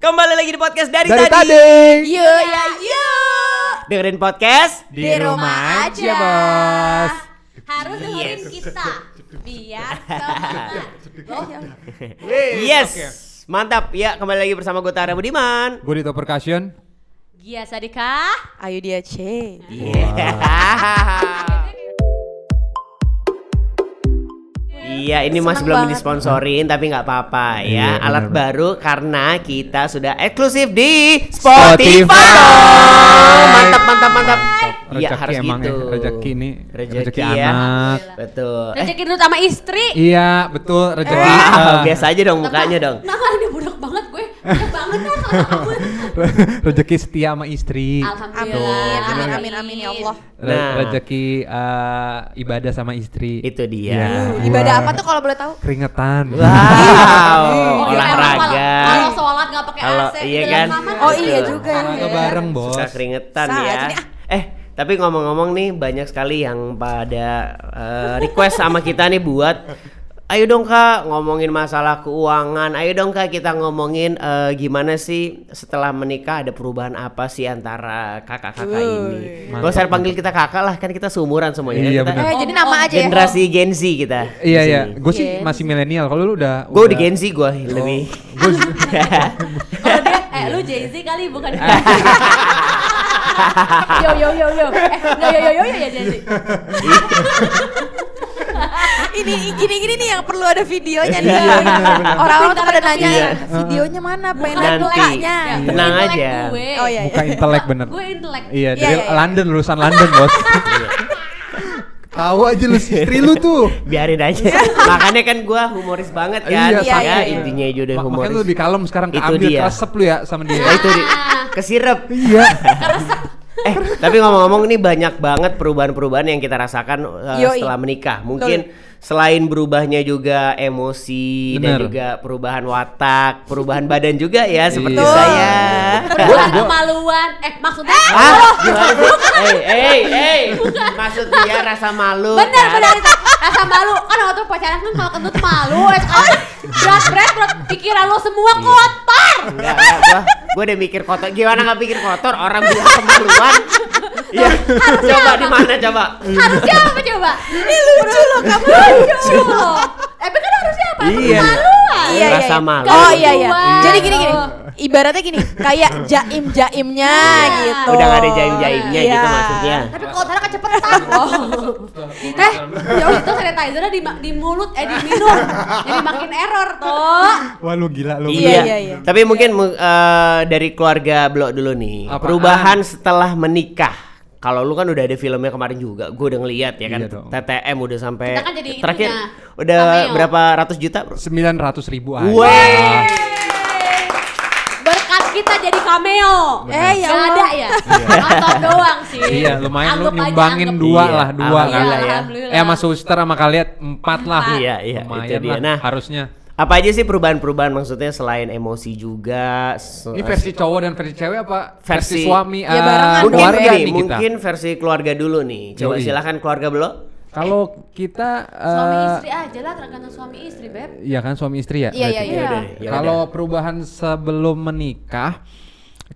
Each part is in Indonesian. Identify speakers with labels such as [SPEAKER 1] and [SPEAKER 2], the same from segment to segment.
[SPEAKER 1] Kembali lagi di podcast dari,
[SPEAKER 2] Dari
[SPEAKER 1] tadi.
[SPEAKER 2] tadi.
[SPEAKER 3] Yo
[SPEAKER 1] Iya.
[SPEAKER 3] ya yo
[SPEAKER 1] Dengerin podcast.
[SPEAKER 2] Iya, Di rumah aja, Bos.
[SPEAKER 3] Harus
[SPEAKER 1] Iya.
[SPEAKER 3] dengerin kita Biar semangat Oh,
[SPEAKER 1] Yes. Mantap. Ya, kembali lagi bersama gue Tara Budiman.
[SPEAKER 2] Gue Dito Percussion.
[SPEAKER 3] Gia Sadika
[SPEAKER 4] Ayo dia C.
[SPEAKER 1] Iya, ini masih
[SPEAKER 4] Seneng
[SPEAKER 1] belum
[SPEAKER 4] banget.
[SPEAKER 1] disponsorin tapi nggak apa-apa ya.
[SPEAKER 2] Iya, benar,
[SPEAKER 1] Alat
[SPEAKER 2] benar.
[SPEAKER 1] baru karena kita sudah eksklusif di
[SPEAKER 2] Spotify.
[SPEAKER 1] Spotify. Mantap, mantap, mantap. Iya,
[SPEAKER 2] Rezeki
[SPEAKER 1] harus
[SPEAKER 2] emang
[SPEAKER 1] gitu.
[SPEAKER 2] ya, rezeki nih,
[SPEAKER 1] Rezeki,
[SPEAKER 2] rezeki
[SPEAKER 1] ya.
[SPEAKER 2] anak.
[SPEAKER 1] Betul. Eh,
[SPEAKER 3] Rezeki terutama istri
[SPEAKER 2] Iya, betul rezeki.
[SPEAKER 1] wah,
[SPEAKER 2] eh,
[SPEAKER 1] biasa aja dong mukanya dong. Oh,
[SPEAKER 3] Nah ini budak banget gue Budak banget kan sama kamu
[SPEAKER 2] rezeki setia sama istri. Tuh,
[SPEAKER 3] Alhamdulillah
[SPEAKER 4] Amin amin amin ya Allah.
[SPEAKER 2] Re-
[SPEAKER 1] Nah.
[SPEAKER 2] Rezeki eh, ibadah sama istri.
[SPEAKER 1] Itu dia.
[SPEAKER 2] Ya,
[SPEAKER 4] Ibadah
[SPEAKER 2] gua
[SPEAKER 4] apa tuh kalau boleh tahu?
[SPEAKER 2] Keringetan.
[SPEAKER 1] Wow,
[SPEAKER 3] Oh, iya,
[SPEAKER 1] olahraga.
[SPEAKER 3] emang Kalau kalau sholat gak pakai
[SPEAKER 1] Kalau-
[SPEAKER 3] AC
[SPEAKER 1] iya
[SPEAKER 3] di
[SPEAKER 1] kan?
[SPEAKER 3] dalam kamar.
[SPEAKER 4] Oh iya juga
[SPEAKER 2] Olahraga
[SPEAKER 4] ya.
[SPEAKER 2] bareng, Bos.
[SPEAKER 1] Suka keringetan
[SPEAKER 4] Saat
[SPEAKER 1] ya.
[SPEAKER 4] ini, ah.
[SPEAKER 1] Eh, tapi ngomong-ngomong nih banyak sekali yang pada eh, request sama kita nih buat Ayo dong kak ngomongin masalah keuangan. Ayo dong kak kita ngomongin eh, gimana sih setelah menikah ada perubahan apa sih antara kakak-kakak ini?
[SPEAKER 2] Mantap,
[SPEAKER 1] Gak usah panggil kita kakak lah kan kita seumuran semuanya.
[SPEAKER 2] Iya,
[SPEAKER 1] kita
[SPEAKER 2] benar.
[SPEAKER 4] Eh jadi nama aja ya.
[SPEAKER 1] generasi Gen Z kita.
[SPEAKER 2] Iya
[SPEAKER 1] di
[SPEAKER 2] iya,
[SPEAKER 1] sini.
[SPEAKER 2] gue sih masih milenial. Kalau lu udah Oh,
[SPEAKER 1] Gue udah Gen Z gue lebih.
[SPEAKER 3] Kalau dia, eh lu Jay Z kali bukan Yo yo yo yo, eh, nggak, yo yo yo yo ya Jay Z.
[SPEAKER 4] Ini gini-gini nih yang perlu ada videonya nih.
[SPEAKER 1] Iya,
[SPEAKER 4] Orang-orang tuh pada nanya
[SPEAKER 1] Iya.
[SPEAKER 4] videonya mana? Pengen lihat
[SPEAKER 1] Nanti
[SPEAKER 4] mukanya.
[SPEAKER 1] tenang
[SPEAKER 3] Intelek
[SPEAKER 1] aja.
[SPEAKER 3] Ya. gue.
[SPEAKER 4] Oh iya.
[SPEAKER 2] buka intelek bener.
[SPEAKER 3] Gue intelek.
[SPEAKER 2] Iya,
[SPEAKER 4] Iya,
[SPEAKER 2] dari
[SPEAKER 4] iya, iya.
[SPEAKER 2] London, lulusan London, Bos.
[SPEAKER 1] Iya.
[SPEAKER 2] Tahu aja lu istri lu tuh.
[SPEAKER 1] biarin aja makanya kan gua humoris banget kan
[SPEAKER 2] Iya,
[SPEAKER 1] ya
[SPEAKER 4] iya, iya.
[SPEAKER 1] intinya aja udah
[SPEAKER 2] Mak-
[SPEAKER 1] humoris
[SPEAKER 2] Makanya lu lebih kalem sekarang
[SPEAKER 1] Itu
[SPEAKER 2] keambil
[SPEAKER 1] dia.
[SPEAKER 2] keresep lu ya sama dia.
[SPEAKER 1] Nah, itu di kesirep
[SPEAKER 2] iya.
[SPEAKER 1] eh tapi ngomong-ngomong ini banyak banget perubahan-perubahan yang kita rasakan uh,
[SPEAKER 4] Yoi.
[SPEAKER 1] setelah menikah mungkin selain berubahnya juga emosi dan
[SPEAKER 2] Bener.
[SPEAKER 1] juga perubahan watak perubahan badan juga ya seperti
[SPEAKER 2] Betul.
[SPEAKER 1] saya
[SPEAKER 3] Bukan kemaluan. Eh maksudnya
[SPEAKER 1] ah gimana sih? eh eh eh maksud dia rasa malu
[SPEAKER 3] bener
[SPEAKER 1] kan?
[SPEAKER 3] bener itu. rasa malu kan waktu pacaran kan kalau kentut malu eh, sekarang berat berat berat pikiran lo semua kotor.
[SPEAKER 1] Iya. Enggak, enggak, gua, gua udah mikir kotor. Gimana nggak pikir kotor? Orang bilang kemaluan. Iya. coba di mana coba?
[SPEAKER 3] Harusnya apa coba?
[SPEAKER 4] Ini lucu loh kamu.
[SPEAKER 3] Lucu loh. Eh kan harusnya apa?
[SPEAKER 1] Iya.
[SPEAKER 3] Kemaluan.
[SPEAKER 4] Iya, iya,
[SPEAKER 1] Rasa
[SPEAKER 4] iya.
[SPEAKER 1] malu.
[SPEAKER 4] Oh iya iya.
[SPEAKER 3] Kedua.
[SPEAKER 4] Jadi gini gini. Ibaratnya gini, kayak jaim-jaimnya
[SPEAKER 3] Iya.
[SPEAKER 4] gitu.
[SPEAKER 1] Udah nggak ada jaim-jaimnya
[SPEAKER 4] Iya.
[SPEAKER 1] gitu maksudnya.
[SPEAKER 3] Tapi kotornya kecepetan
[SPEAKER 4] Oh.
[SPEAKER 3] loh. eh, ya itu sanitizernya di, di mulut eh diminum. Jadi makin error toh.
[SPEAKER 2] Wah lu gila lu.
[SPEAKER 4] Iya, iya, iya.
[SPEAKER 1] Tapi mungkin mu- eh, dari keluarga Blok dulu nih.
[SPEAKER 2] Apaan?
[SPEAKER 1] Perubahan setelah menikah. Kalau lu kan udah ada filmnya kemarin juga, gue udah ngeliat ya kan
[SPEAKER 2] Iya dong.
[SPEAKER 1] TTM udah sampai
[SPEAKER 3] Kita kan jadi
[SPEAKER 1] terakhir
[SPEAKER 3] itunya,
[SPEAKER 1] udah
[SPEAKER 3] cameo.
[SPEAKER 1] berapa ratus juta bro?
[SPEAKER 2] Sembilan ratus ribu aja.
[SPEAKER 1] Weh.
[SPEAKER 3] Berkat kita jadi cameo.
[SPEAKER 4] Eh, ya
[SPEAKER 3] Nggak
[SPEAKER 4] Allah.
[SPEAKER 3] ada ya? Nonton doang sih.
[SPEAKER 2] Iya lumayan lu
[SPEAKER 3] Anggap aja,
[SPEAKER 2] nyumbangin
[SPEAKER 3] anggap-
[SPEAKER 2] dua
[SPEAKER 1] Iya,
[SPEAKER 2] lah dua kan.
[SPEAKER 1] alhamdulillah ya.
[SPEAKER 3] Alhamdulillah.
[SPEAKER 2] Eh sama suster sama kalian empat lah.
[SPEAKER 3] Empat.
[SPEAKER 1] Iya, iya, itu
[SPEAKER 2] Lumayan
[SPEAKER 1] dia.
[SPEAKER 2] lah.
[SPEAKER 1] Nah.
[SPEAKER 2] harusnya.
[SPEAKER 1] Apa aja sih perubahan-perubahan maksudnya selain emosi juga? se-
[SPEAKER 2] Ini versi cowok dan versi cewek apa? Versi,
[SPEAKER 1] Versi-
[SPEAKER 2] suami
[SPEAKER 4] Ya,
[SPEAKER 2] eh,
[SPEAKER 4] barengan dong.
[SPEAKER 1] mungkin
[SPEAKER 2] keluarga
[SPEAKER 1] gini,
[SPEAKER 2] nih kita.
[SPEAKER 1] mungkin versi keluarga dulu nih. Coba
[SPEAKER 2] Yoi.
[SPEAKER 1] silahkan keluarga belum?
[SPEAKER 2] Kalau kita
[SPEAKER 3] Suami
[SPEAKER 2] eh,
[SPEAKER 3] istri aja lah, tergantung suami istri, Beb.
[SPEAKER 2] Iya kan suami istri ya?
[SPEAKER 3] Iya,
[SPEAKER 2] berarti?
[SPEAKER 3] iya, iya.
[SPEAKER 2] Kalau perubahan sebelum menikah,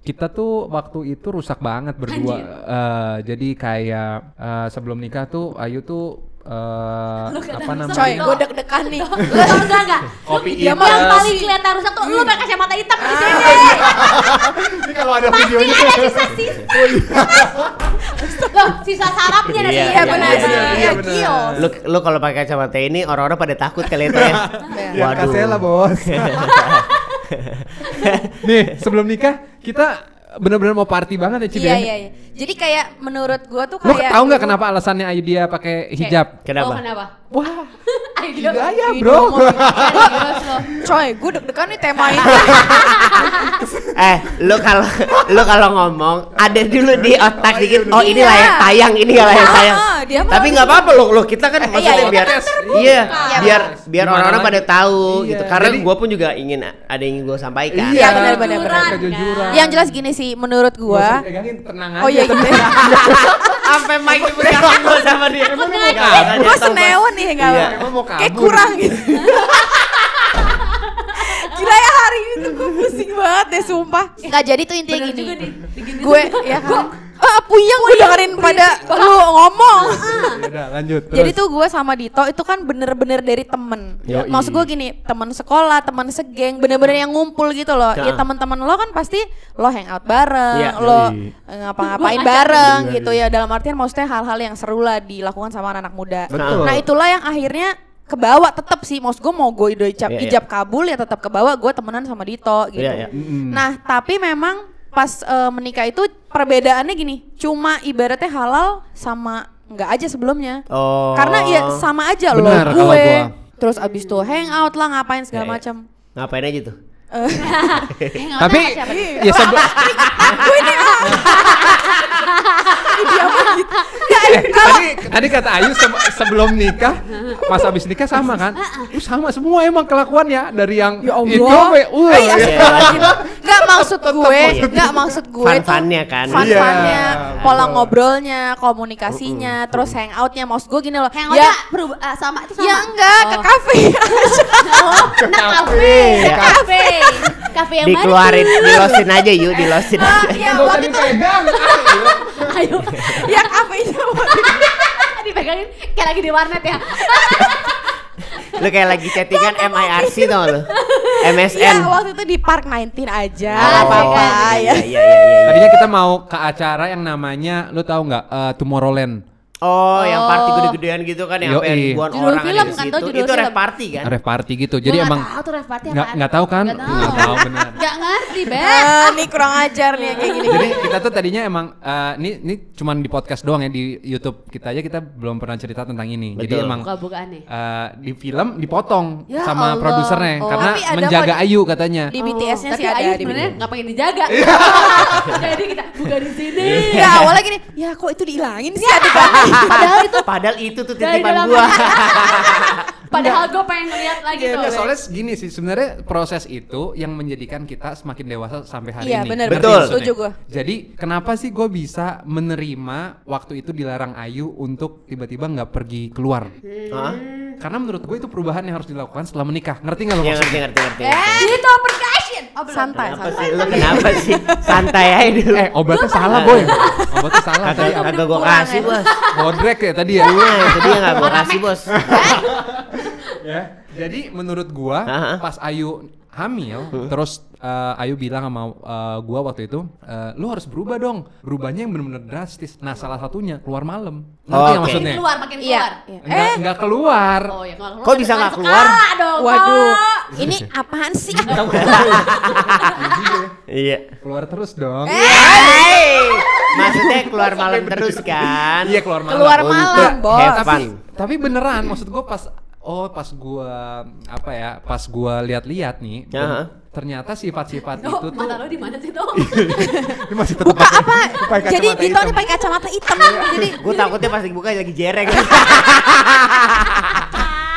[SPEAKER 2] kita tuh waktu itu rusak banget berdua. Eh, jadi kayak eh, sebelum nikah tuh Ayu tuh eh,
[SPEAKER 3] Lu
[SPEAKER 2] apa
[SPEAKER 3] kena rusak
[SPEAKER 2] namanya?
[SPEAKER 4] Coy,
[SPEAKER 3] Dok.
[SPEAKER 4] gue deg-degan nih. Iya,
[SPEAKER 3] Lu tau enggak enggak? Lu
[SPEAKER 2] Kopi
[SPEAKER 3] yang
[SPEAKER 2] hitam.
[SPEAKER 3] paling kelihatan rusak tuh lu pakai kacamata hitam di sini.
[SPEAKER 2] Ini kalau ada Oh,
[SPEAKER 3] Pasti ada sisa-sisa.
[SPEAKER 2] iya.
[SPEAKER 3] Loh, sisa sarapnya dari
[SPEAKER 1] Iya,
[SPEAKER 4] Iya benar.
[SPEAKER 1] iya, iya,
[SPEAKER 4] Iya, kios.
[SPEAKER 1] Lu, lu kalau pakai kacamata ini orang-orang pada takut kali itu ya.
[SPEAKER 2] Ya, kasela, bos. Nih, sebelum nikah kita bener-bener mau party banget ya, Cib. ya?
[SPEAKER 4] Iya iya Oh, iya. Jadi kayak menurut gua tuh
[SPEAKER 2] Lu
[SPEAKER 4] kayak
[SPEAKER 2] tahu nggak kenapa alasannya Ayu dia pakai hijab?
[SPEAKER 1] Kenapa?
[SPEAKER 3] Oh, kenapa?
[SPEAKER 2] Wah,
[SPEAKER 3] Ayo, Dok.
[SPEAKER 2] gila ya,
[SPEAKER 4] Ayo,
[SPEAKER 2] bro.
[SPEAKER 4] ngomong.
[SPEAKER 3] Serius lo.
[SPEAKER 4] Coy, gue deg-degan nih tema ini.
[SPEAKER 1] Eh, lu kalau lu kalau ngomong ada dulu di otak dikit. Oh, ini
[SPEAKER 4] Iya.
[SPEAKER 1] layak tayang, ini ya layak
[SPEAKER 4] Iya,
[SPEAKER 1] tayang.
[SPEAKER 4] dia mah
[SPEAKER 1] Tapi nggak apa-apa lu, lu kita kan maksudnya
[SPEAKER 4] iya,
[SPEAKER 1] biar
[SPEAKER 2] kita terbuka.
[SPEAKER 1] iya,
[SPEAKER 4] Iya,
[SPEAKER 1] biar
[SPEAKER 2] benar.
[SPEAKER 1] biar
[SPEAKER 2] Gimana
[SPEAKER 1] orang-orang
[SPEAKER 2] lagi?
[SPEAKER 1] pada tahu
[SPEAKER 2] Iya,
[SPEAKER 1] gitu. Karena
[SPEAKER 2] jadi-
[SPEAKER 1] gua pun juga ingin ada yang ingin gua sampaikan.
[SPEAKER 4] Iya, benar, benar,
[SPEAKER 3] benar.
[SPEAKER 2] Kejujuran.
[SPEAKER 4] Yang jelas gini sih menurut
[SPEAKER 2] Gak usah
[SPEAKER 4] gua.
[SPEAKER 2] dipegangin, tenang aja.
[SPEAKER 4] Oh iya gitu.
[SPEAKER 1] Sampai mic dipegang gua sama dia. Nggak,
[SPEAKER 4] Gua
[SPEAKER 1] nggak,
[SPEAKER 4] senewan nih enggak
[SPEAKER 1] Iya,
[SPEAKER 2] emang mau
[SPEAKER 4] apa. Kayak
[SPEAKER 2] kabur.
[SPEAKER 4] kurang gitu. Gila ya hari ini tuh gue pusing banget deh sumpah. Nah jadi tuh intinya
[SPEAKER 5] Bener
[SPEAKER 4] gini.
[SPEAKER 5] juga nih, diginiin
[SPEAKER 4] Gue
[SPEAKER 5] juga.
[SPEAKER 4] ya kan. Ah puyeng Ah, gue dengerin pada lu ngomong.
[SPEAKER 2] Udah lanjut. Terus.
[SPEAKER 4] Jadi tuh gue sama Dito itu kan bener-bener dari temen.
[SPEAKER 2] Yoi.
[SPEAKER 4] Maksud gue gini, temen sekolah, temen segeng, bener-bener yang ngumpul gitu loh.
[SPEAKER 1] Ya.
[SPEAKER 2] Nah.
[SPEAKER 4] Ya teman-teman lo kan pasti lo hangout bareng,
[SPEAKER 1] Ya.
[SPEAKER 4] lo
[SPEAKER 2] Yoi.
[SPEAKER 4] eh, ngapa-ngapain bareng gitu ya. Dalam artian maksudnya hal-hal yang seru lah dilakukan sama anak-anak muda.
[SPEAKER 2] Betul.
[SPEAKER 4] Nah itulah yang akhirnya kebawa tetap sih. Maksud gue mau gue ide ijab,
[SPEAKER 1] Iya, iya.
[SPEAKER 4] ijab kabul ya tetap kebawa gue temenan sama Dito gitu.
[SPEAKER 1] Iya, iya.
[SPEAKER 2] Ya, Mm-mm.
[SPEAKER 4] Nah, tapi memang pas eh, menikah itu perbedaannya gini, cuma ibaratnya halal sama enggak aja sebelumnya.
[SPEAKER 1] Oh.
[SPEAKER 4] Karena ya sama aja loh
[SPEAKER 2] Benar, kalau
[SPEAKER 4] gue.
[SPEAKER 2] gua.
[SPEAKER 4] Terus abis itu hangout lah ngapain
[SPEAKER 1] Iya,
[SPEAKER 4] segala
[SPEAKER 1] iya.
[SPEAKER 4] macam.
[SPEAKER 1] Ngapain aja tuh?
[SPEAKER 5] Eh, nggak
[SPEAKER 2] Tapi
[SPEAKER 5] tahu siapa nih.
[SPEAKER 2] ya sebe-
[SPEAKER 4] ah,
[SPEAKER 2] Eh, tadi, tadi kata Ayu se- sebelum nikah, pas abis nikah sama kan?
[SPEAKER 5] Ah,
[SPEAKER 2] Uh, sama semua emang kelakuannya dari yang
[SPEAKER 4] Ya Allah.
[SPEAKER 2] itu apa ya?
[SPEAKER 5] Oh,
[SPEAKER 2] Uh,
[SPEAKER 4] Ay,
[SPEAKER 1] Iya.
[SPEAKER 4] Enggak maksud gue, enggak maksud gue tuh
[SPEAKER 1] Fun-funnya kan?
[SPEAKER 4] fun-funnya,
[SPEAKER 2] Iya.
[SPEAKER 4] pola ngobrolnya, komunikasinya, terus hangoutnya. Maksud gue gini loh,
[SPEAKER 5] hangoutnya berubah ah, sama itu sama.
[SPEAKER 4] ya enggak
[SPEAKER 1] Oh.
[SPEAKER 4] ke kafe aja.
[SPEAKER 5] Oh, nah kafe,
[SPEAKER 1] Kafe.
[SPEAKER 5] kafe, kafe yang Ah, mana?
[SPEAKER 1] Dikeluarin, dilosin aja yuk, dilosin aja.
[SPEAKER 5] iya.
[SPEAKER 4] ya
[SPEAKER 2] Nggak usah
[SPEAKER 4] waktu itu
[SPEAKER 2] dipegang. iya.
[SPEAKER 5] Ayo,
[SPEAKER 4] ya kafenya waktu itu.
[SPEAKER 5] dipegangin kayak lagi di warnet ya.
[SPEAKER 1] Lu kayak lagi chattingan MIRC
[SPEAKER 5] gitu.
[SPEAKER 1] tau lu? MSN.
[SPEAKER 5] Iya,
[SPEAKER 4] Ya, waktu itu di Park 19 aja,
[SPEAKER 1] Oh,
[SPEAKER 4] nggak apa-apa
[SPEAKER 1] iya,
[SPEAKER 4] ya.
[SPEAKER 1] iya, iya, iya, iya.
[SPEAKER 2] Tadinya kita mau ke acara yang namanya, lu tahu nggak? eh, Tomorrowland.
[SPEAKER 1] Oh, yang party gede-gedean gitu kan yang
[SPEAKER 2] Yoi.
[SPEAKER 1] sampai ribuan
[SPEAKER 5] Judul
[SPEAKER 1] orang
[SPEAKER 5] film
[SPEAKER 1] ada di
[SPEAKER 5] kan,
[SPEAKER 1] situ.
[SPEAKER 5] tau judul
[SPEAKER 1] itu rave
[SPEAKER 5] film.
[SPEAKER 1] party kan?
[SPEAKER 2] Rave party gitu. Jadi
[SPEAKER 5] Gua nggak
[SPEAKER 2] emang
[SPEAKER 5] tahu tuh rave party
[SPEAKER 2] nggak
[SPEAKER 5] apaan.
[SPEAKER 2] nggak tahu kan?
[SPEAKER 5] Nggak tahu.
[SPEAKER 2] Nggak tahu benar.
[SPEAKER 5] Nggak ngerti, Beb.
[SPEAKER 4] Eh, nih kurang ajar nih yang kayak gini.
[SPEAKER 2] Jadi kita tuh tadinya emang eh, ini ini cuman di podcast doang ya di YouTube kita aja kita belum pernah cerita tentang ini. Jadi
[SPEAKER 1] Betul.
[SPEAKER 2] emang
[SPEAKER 5] Buka-bukaan nih.
[SPEAKER 2] eh, di film dipotong
[SPEAKER 5] Ya
[SPEAKER 2] sama
[SPEAKER 5] Allah.
[SPEAKER 2] produsernya
[SPEAKER 5] Oh.
[SPEAKER 2] karena
[SPEAKER 4] Tapi ada Iya,
[SPEAKER 2] menjaga
[SPEAKER 4] kok-
[SPEAKER 2] Ayu katanya.
[SPEAKER 4] Di BTS-nya sih ada
[SPEAKER 5] Ayu
[SPEAKER 4] di
[SPEAKER 5] sebenarnya nggak pengen dijaga. Jadi kita buka di sini.
[SPEAKER 4] Enggak, awalnya gini, ya kok itu dihilangin sih ada banget.
[SPEAKER 5] Padahal itu
[SPEAKER 1] Padahal itu tuh
[SPEAKER 5] dari dalam
[SPEAKER 1] titipan gua.
[SPEAKER 5] Padahal gue pengen ngeliat lagi
[SPEAKER 2] Iya,
[SPEAKER 5] tuh.
[SPEAKER 2] enggak,
[SPEAKER 5] Beb.
[SPEAKER 2] soalnya gini sih sebenarnya proses itu yang menjadikan kita semakin dewasa sampai hari
[SPEAKER 4] Iya,
[SPEAKER 2] ini.
[SPEAKER 4] bener,
[SPEAKER 2] Ngerti
[SPEAKER 1] betul.
[SPEAKER 2] maksudnya?
[SPEAKER 4] Setuju gua.
[SPEAKER 2] Jadi kenapa sih gue bisa menerima waktu itu dilarang Ayu untuk tiba-tiba nggak pergi keluar?
[SPEAKER 1] Hah?
[SPEAKER 2] Karena menurut gue itu perubahan yang harus dilakukan setelah menikah. Ngerti nggak lo
[SPEAKER 1] Ya
[SPEAKER 2] maksudnya?
[SPEAKER 1] ngerti, ngerti, ngerti.
[SPEAKER 5] Dito percussion. Eh, Oh, belum.
[SPEAKER 4] Santai,
[SPEAKER 1] Kenapa
[SPEAKER 4] santai.
[SPEAKER 1] sih? Lu kenapa sih? Santai aja dulu.
[SPEAKER 2] Eh obatnya salah boy. Obatnya salah
[SPEAKER 1] Kagak
[SPEAKER 2] tadi. apa?
[SPEAKER 1] kagak gua
[SPEAKER 4] kurang
[SPEAKER 1] kasih,
[SPEAKER 4] ya.
[SPEAKER 1] Bos.
[SPEAKER 2] Bodrek ya tadi ya.
[SPEAKER 1] Iya, itu dia enggak gua kasih, Bos.
[SPEAKER 2] ya. Jadi menurut gua
[SPEAKER 1] Aha. Hmm.
[SPEAKER 2] pas Ayu hamil terus eh, Ayu bilang sama eh, gua waktu itu eh, lu harus berubah dong. Berubahnya yang benar-benar drastis. Nah, salah satunya keluar malam. Ngerti
[SPEAKER 1] Oh,
[SPEAKER 2] nggak
[SPEAKER 1] oke.
[SPEAKER 2] maksudnya?
[SPEAKER 5] Makin keluar, makin
[SPEAKER 4] Iya.
[SPEAKER 5] keluar.
[SPEAKER 4] iya.
[SPEAKER 2] Nggak, nggak keluar.
[SPEAKER 5] Oh ya kalau
[SPEAKER 1] Kok bisa nggak keluar?
[SPEAKER 5] Skala dong,
[SPEAKER 4] Waduh,
[SPEAKER 5] Kak.
[SPEAKER 4] ini apaan sih?
[SPEAKER 1] Iya.
[SPEAKER 2] Keluar terus dong.
[SPEAKER 5] Eh.
[SPEAKER 1] Hey! Maksudnya keluar malam terus kan?
[SPEAKER 2] Iya, keluar malam.
[SPEAKER 4] Keluar
[SPEAKER 1] Untuk
[SPEAKER 4] malam, Bos.
[SPEAKER 1] have fun.
[SPEAKER 2] tapi tapi beneran maksud gue pas oh pas gua apa ya pas gua lihat-lihat nih ben-
[SPEAKER 1] Aha.
[SPEAKER 2] ternyata sifat-sifat
[SPEAKER 5] Oh,
[SPEAKER 2] itu tuh Iya,
[SPEAKER 5] mata lo di mana sih tuh?
[SPEAKER 2] Ini masih tetap
[SPEAKER 4] Buka
[SPEAKER 2] pakai-
[SPEAKER 4] apa?
[SPEAKER 2] pakai
[SPEAKER 4] Jadi
[SPEAKER 2] kacamata
[SPEAKER 4] Dito
[SPEAKER 2] hitam.
[SPEAKER 4] ini pakai kacamata hitam. Jadi
[SPEAKER 1] Gue takutnya pas dibuka lagi jereng.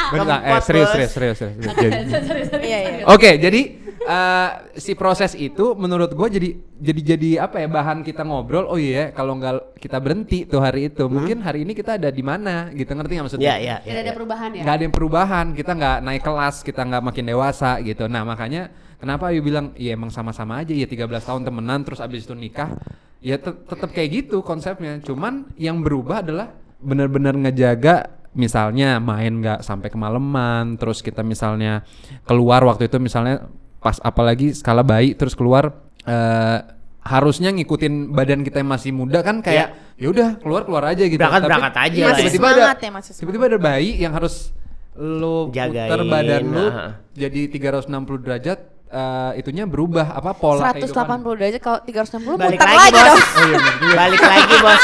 [SPEAKER 2] Bentar, eh
[SPEAKER 1] Kempot,
[SPEAKER 2] serius
[SPEAKER 1] Bos.
[SPEAKER 2] serius serius. serius. Jadi-
[SPEAKER 5] Sorry, sorry.
[SPEAKER 4] Iya, iya.
[SPEAKER 2] Oke, jadi eh, si proses itu menurut gue jadi jadi jadi apa ya bahan kita ngobrol. Oh iya, kalau nggak kita berhenti tuh hari itu, mungkin hari ini kita ada di mana gitu ngerti nggak maksudnya?
[SPEAKER 1] Hmm? Iya, iya,
[SPEAKER 5] Tidak
[SPEAKER 1] iya.
[SPEAKER 5] ada perubahan ya?
[SPEAKER 2] Nggak ada yang perubahan, kita nggak naik kelas, kita nggak makin dewasa gitu. Nah makanya kenapa Ayu bilang, ya emang sama-sama aja ya 13 tahun temenan terus abis itu nikah, ya te- tetap kayak gitu konsepnya. Cuman yang berubah adalah benar-benar ngejaga misalnya main nggak sampai kemalaman, terus kita misalnya keluar waktu itu misalnya pas apalagi skala bayi terus keluar eh, harusnya ngikutin badan kita yang masih muda kan kayak ya udah keluar keluar aja gitu Tapi-
[SPEAKER 1] Berangkat-berangkat Iya. aja
[SPEAKER 2] Iya,
[SPEAKER 1] lah ya.
[SPEAKER 2] tiba-tiba ada
[SPEAKER 4] Semangat ya, masih semangat.
[SPEAKER 2] tiba-tiba ada bayi yang harus lu
[SPEAKER 1] Jagain,
[SPEAKER 2] puter badan lu
[SPEAKER 1] nah.
[SPEAKER 2] jadi 360 derajat eh, itunya berubah apa pola
[SPEAKER 4] 180
[SPEAKER 2] kehidupan.
[SPEAKER 4] derajat kalau 360
[SPEAKER 1] Balik
[SPEAKER 4] putar
[SPEAKER 1] lagi,
[SPEAKER 4] lagi
[SPEAKER 1] Bos.
[SPEAKER 2] Oh,
[SPEAKER 4] dong.
[SPEAKER 2] iya,
[SPEAKER 1] balik lagi, Bos.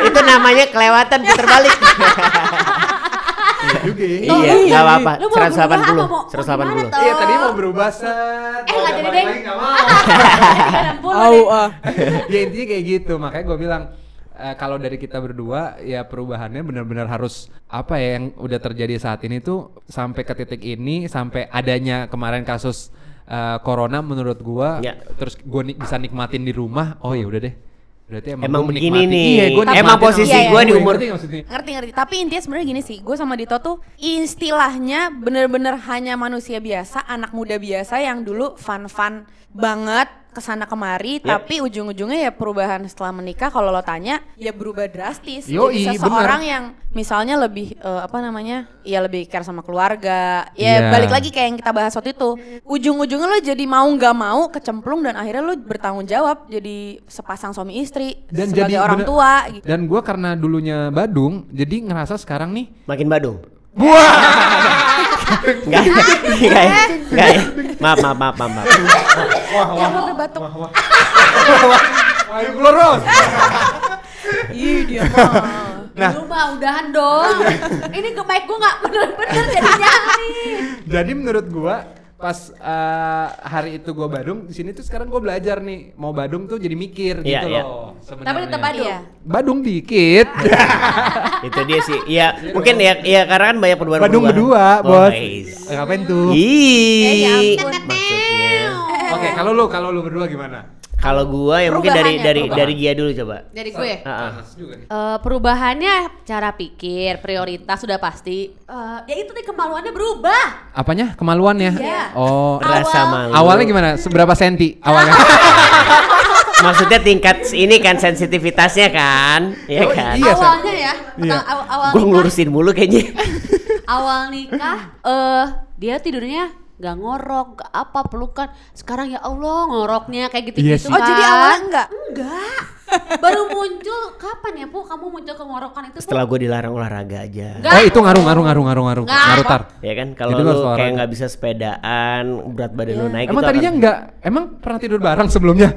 [SPEAKER 1] Itu namanya kelewatan puter balik.
[SPEAKER 5] Tuh,
[SPEAKER 1] Iya, enggak apa-apa.
[SPEAKER 5] Lu mau berubah apa? Mau- mau
[SPEAKER 1] 180.
[SPEAKER 5] gimana,
[SPEAKER 1] 180.
[SPEAKER 5] Toh?
[SPEAKER 2] Iya tadi mau berubah set.
[SPEAKER 5] Eh, nggak jadi
[SPEAKER 2] balik
[SPEAKER 5] deh.
[SPEAKER 2] lagi nggak mau.
[SPEAKER 5] Au,
[SPEAKER 2] ya intinya kayak gitu makanya gue bilang eh, kalau dari kita berdua ya perubahannya benar-benar harus apa ya yang udah terjadi saat ini tuh sampai ke titik ini sampai adanya kemarin kasus eh, corona menurut gua
[SPEAKER 1] Ya.
[SPEAKER 2] terus gue bisa nikmatin di rumah oh ya udah deh Berarti emang,
[SPEAKER 1] Emang
[SPEAKER 2] gua
[SPEAKER 1] begini
[SPEAKER 2] menikmati.
[SPEAKER 1] nih.
[SPEAKER 2] Iya, gua
[SPEAKER 1] Emang
[SPEAKER 2] nikmatin
[SPEAKER 1] posisi gua
[SPEAKER 2] sama
[SPEAKER 1] di
[SPEAKER 2] ngerti
[SPEAKER 1] umur-
[SPEAKER 2] nggak maksudnya?
[SPEAKER 4] Ngerti ngerti. Tapi intinya sebenarnya gini sih, gue sama Dito tuh istilahnya bener-bener hanya manusia biasa, anak muda biasa yang dulu fun-fun banget kesana kemari,
[SPEAKER 1] Yep.
[SPEAKER 4] tapi ujung-ujungnya ya perubahan setelah menikah kalau lo tanya ya berubah drastis.
[SPEAKER 2] Yoi,
[SPEAKER 4] Jadi
[SPEAKER 2] bener.
[SPEAKER 4] seseorang yang misalnya lebih eh, apa namanya, ya lebih care sama keluarga, ya
[SPEAKER 2] Iya.
[SPEAKER 4] balik lagi kayak yang kita bahas waktu itu, ujung-ujungnya lo jadi mau nggak mau kecemplung dan akhirnya lo bertanggung jawab jadi sepasang suami istri
[SPEAKER 2] Dan
[SPEAKER 4] sebagai
[SPEAKER 2] jadi
[SPEAKER 4] orang
[SPEAKER 2] bener-
[SPEAKER 4] tua gitu.
[SPEAKER 2] Dan gua karena dulunya Badung, jadi ngerasa sekarang nih
[SPEAKER 1] Makin badung.
[SPEAKER 2] Wah,
[SPEAKER 1] Enggak. Enggak. ya? Enggak. ya? Maaf, maaf, maaf, maaf. maaf.
[SPEAKER 5] Iya,
[SPEAKER 4] Yang udah batuk.
[SPEAKER 2] ayo keluar Ros.
[SPEAKER 4] Ih dia mah.
[SPEAKER 2] Nah. Iya.
[SPEAKER 5] Lu mah udahan dong. Ini ke mic gua nggak bener-bener jadinya nih.
[SPEAKER 2] Jadi menurut gua pas eh, hari itu gua Badung, di sini tuh sekarang gua belajar nih mau Badung tuh jadi mikir
[SPEAKER 1] Iya,
[SPEAKER 2] gitu
[SPEAKER 1] iya.
[SPEAKER 2] loh.
[SPEAKER 5] Tapi
[SPEAKER 2] sebenarnya.
[SPEAKER 5] tetap aduh.
[SPEAKER 4] Iya.
[SPEAKER 2] Badung dikit.
[SPEAKER 1] Itu dia sih. Iya, mungkin ya ya karena kan banyak perubahan.
[SPEAKER 2] Badung berdua,
[SPEAKER 1] Oh,
[SPEAKER 2] Bos.
[SPEAKER 1] Boys.
[SPEAKER 2] Eh, ngapain tuh?
[SPEAKER 1] Iya.
[SPEAKER 4] ya
[SPEAKER 1] Ih.
[SPEAKER 4] ampun.
[SPEAKER 1] Maksudnya.
[SPEAKER 2] Oke, kalau lu kalau lu berdua gimana?
[SPEAKER 1] Kalau gua ya mungkin dari
[SPEAKER 4] Perubahannya,
[SPEAKER 1] dari
[SPEAKER 2] perubahan.
[SPEAKER 1] dari Gia dulu coba.
[SPEAKER 5] Dari gue.
[SPEAKER 1] Heeh.
[SPEAKER 2] Panas juga nih.
[SPEAKER 3] Eh, perubahannya cara pikir, prioritas sudah pasti.
[SPEAKER 4] Oh,
[SPEAKER 5] Eh, ya itu nih kemaluannya berubah.
[SPEAKER 2] Apanya? Kemaluan ya?
[SPEAKER 5] Iya.
[SPEAKER 2] Oh.
[SPEAKER 1] Rasa
[SPEAKER 5] Awal-
[SPEAKER 1] malu.
[SPEAKER 2] Awalnya gimana? Seberapa senti awalnya?
[SPEAKER 1] Maksudnya tingkat ini kan sensitivitasnya kan, ya
[SPEAKER 2] Oh,
[SPEAKER 1] kan.
[SPEAKER 2] Iya, Sat.
[SPEAKER 5] awalnya ya.
[SPEAKER 2] Iya.
[SPEAKER 5] Atau aw- awal
[SPEAKER 1] Gue
[SPEAKER 5] nikah,
[SPEAKER 1] ngurusin mulu kayaknya.
[SPEAKER 3] Awal nikah eh dia tidurnya nggak ngorok, nggak apa pelukan. Sekarang ya Allah ngoroknya kayak
[SPEAKER 2] Iya sih.
[SPEAKER 3] gitu-gitu
[SPEAKER 4] Oh jadi
[SPEAKER 3] kan.
[SPEAKER 4] awalnya enggak?
[SPEAKER 3] Enggak. Baru muncul kapan ya, Bu? Kamu muncul ke ngorokan itu
[SPEAKER 1] Setelah gue dilarang olahraga aja.
[SPEAKER 3] Enggak.
[SPEAKER 2] Oh, itu ngaruh ngaruh ngaruh ngaruh ngaruh.
[SPEAKER 3] Nggak.
[SPEAKER 2] Ngaruh tar.
[SPEAKER 1] Ya kan kalau
[SPEAKER 2] Jadi lu harus
[SPEAKER 1] lu
[SPEAKER 2] olahraga.
[SPEAKER 1] kayak nggak bisa sepedaan, berat badan lu naik
[SPEAKER 2] Emang
[SPEAKER 1] itu
[SPEAKER 2] tadinya
[SPEAKER 1] akan-
[SPEAKER 2] enggak? Emang pernah tidur bareng sebelumnya?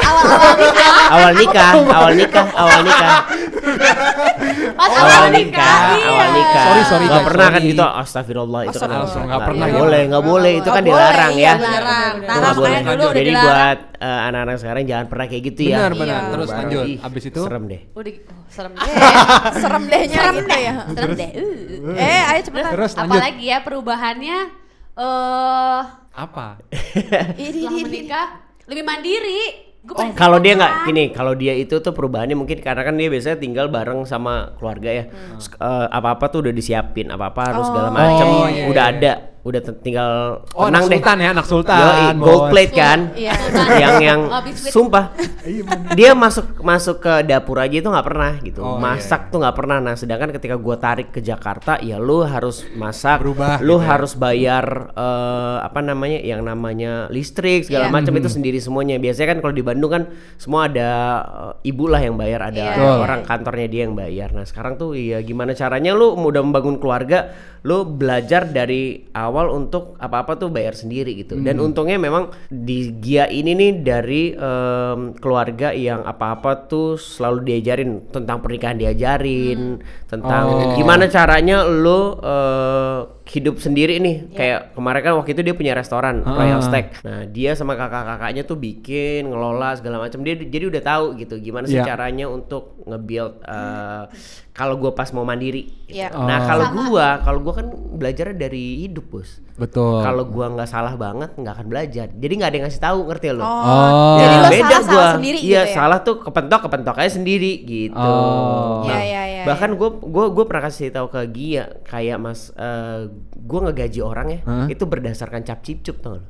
[SPEAKER 5] awal-awal nikah.
[SPEAKER 1] awal nikah, awal nikah, awal nikah.
[SPEAKER 5] Pas
[SPEAKER 1] awal nikah, awal
[SPEAKER 3] iya.
[SPEAKER 1] nikah.
[SPEAKER 2] Sorry, sorry,
[SPEAKER 1] Gak
[SPEAKER 2] guys,
[SPEAKER 1] pernah kan
[SPEAKER 2] sorry.
[SPEAKER 1] gitu. Astagfirullah itu kan.
[SPEAKER 4] Astagfirullah.
[SPEAKER 1] harus-
[SPEAKER 2] Nggak pernah ya.
[SPEAKER 1] boleh, nggak boleh. Itu
[SPEAKER 4] Nggak
[SPEAKER 1] kan
[SPEAKER 4] boleh,
[SPEAKER 1] dilarang
[SPEAKER 4] iya,
[SPEAKER 1] ya.
[SPEAKER 5] dilarang.
[SPEAKER 1] Itu
[SPEAKER 5] Tanah
[SPEAKER 1] nggak boleh.
[SPEAKER 5] makanya dulu udah
[SPEAKER 1] Jadi
[SPEAKER 5] dilarang.
[SPEAKER 1] buat eh, anak-anak sekarang jangan pernah kayak gitu ya.
[SPEAKER 2] Benar, benar.
[SPEAKER 1] Iya.
[SPEAKER 2] Terus
[SPEAKER 1] Baru-
[SPEAKER 2] lanjut.
[SPEAKER 1] ih,
[SPEAKER 2] Abis itu?
[SPEAKER 1] serem deh.
[SPEAKER 3] Udah oh, serem deh.
[SPEAKER 4] Eh, Serem dehnya
[SPEAKER 3] Serem
[SPEAKER 4] gitu
[SPEAKER 3] deh.
[SPEAKER 4] ya.
[SPEAKER 1] Ah,
[SPEAKER 3] Serem deh. Uh.
[SPEAKER 4] Eh ayo cepetan.
[SPEAKER 2] Terus lanjut.
[SPEAKER 3] Apalagi ya perubahannya eh
[SPEAKER 2] Apa?
[SPEAKER 4] Iri,
[SPEAKER 3] setelah
[SPEAKER 4] iri, iri.
[SPEAKER 3] menikah lebih mandiri. Gua paling
[SPEAKER 1] Oh, Kalau dia
[SPEAKER 3] seneng
[SPEAKER 1] nggak
[SPEAKER 3] kan.
[SPEAKER 1] gini, kalau dia itu tuh perubahannya mungkin karena kan dia biasanya tinggal bareng sama keluarga ya. Terus, eh, apa-apa tuh udah disiapin, apa-apa harus segala macam
[SPEAKER 2] Oh, iya,
[SPEAKER 1] udah
[SPEAKER 2] iya.
[SPEAKER 1] ada, udah te- tinggal
[SPEAKER 2] Oh,
[SPEAKER 1] tenang
[SPEAKER 2] anak
[SPEAKER 1] deh.
[SPEAKER 2] sultan ya, anak sultan.
[SPEAKER 1] Yoi,
[SPEAKER 2] bos.
[SPEAKER 1] gold plate kan?
[SPEAKER 4] Iya.
[SPEAKER 1] yang yang
[SPEAKER 3] Oh, biskuit.
[SPEAKER 1] sumpah
[SPEAKER 2] Iya,
[SPEAKER 1] dia masuk masuk ke dapur aja itu nggak pernah gitu
[SPEAKER 2] Oh,
[SPEAKER 1] masak
[SPEAKER 2] iya, iya.
[SPEAKER 1] tuh nggak pernah nah sedangkan ketika gua tarik ke Jakarta ya lu harus masak
[SPEAKER 2] Berubah
[SPEAKER 1] lu
[SPEAKER 2] gitu ya.
[SPEAKER 1] harus bayar eh, apa namanya yang namanya listrik segala
[SPEAKER 3] Iya.
[SPEAKER 1] macam
[SPEAKER 2] Hmm.
[SPEAKER 1] itu sendiri semuanya biasanya kan kalau di Bandung kan semua ada eh, ibu lah yang bayar ada
[SPEAKER 4] Iya,
[SPEAKER 2] Betul.
[SPEAKER 1] orang kantornya dia yang bayar nah sekarang tuh ya gimana caranya lu udah membangun keluarga lu belajar dari awal untuk apa apa tuh bayar sendiri gitu dan
[SPEAKER 2] Hmm.
[SPEAKER 1] untungnya memang di Gia ini nih dari em, keluarga yang apa apa tuh selalu diajarin tentang pernikahan diajarin tentang
[SPEAKER 2] Oh.
[SPEAKER 1] gimana caranya lu eh, hidup sendiri nih kayak kemarin kan waktu itu dia punya restoran
[SPEAKER 2] Ah.
[SPEAKER 1] Royal Steak nah dia sama kakak-kakaknya tuh bikin ngelola segala macam dia jadi udah tahu gitu gimana sih
[SPEAKER 2] Iya.
[SPEAKER 1] caranya untuk nge-build eh, kalau gua pas mau mandiri. gitu.
[SPEAKER 4] Iya.
[SPEAKER 1] Nah,
[SPEAKER 2] Oh.
[SPEAKER 1] kalau gua, kalau gua kan belajarnya dari hidup, Bos.
[SPEAKER 2] Betul.
[SPEAKER 1] Kalau gua nggak salah banget nggak akan belajar. Jadi nggak ada yang ngasih tahu, ngerti lo?
[SPEAKER 4] Oh.
[SPEAKER 2] Oh.
[SPEAKER 4] Jadi
[SPEAKER 1] Ya,
[SPEAKER 4] lo
[SPEAKER 1] beda
[SPEAKER 4] salah salah
[SPEAKER 1] gua.
[SPEAKER 4] sendiri
[SPEAKER 1] Iya,
[SPEAKER 4] gitu ya.
[SPEAKER 1] salah tuh kepentok kepentok aja sendiri gitu.
[SPEAKER 2] Oh.
[SPEAKER 4] Iya,
[SPEAKER 1] Nah,
[SPEAKER 4] iya, iya,
[SPEAKER 1] Bahkan gue gua gua pernah kasih tahu ke Gia kayak Mas eh, gua ngegaji orang ya,
[SPEAKER 2] Hah?
[SPEAKER 1] itu berdasarkan cap cipcup tau lo.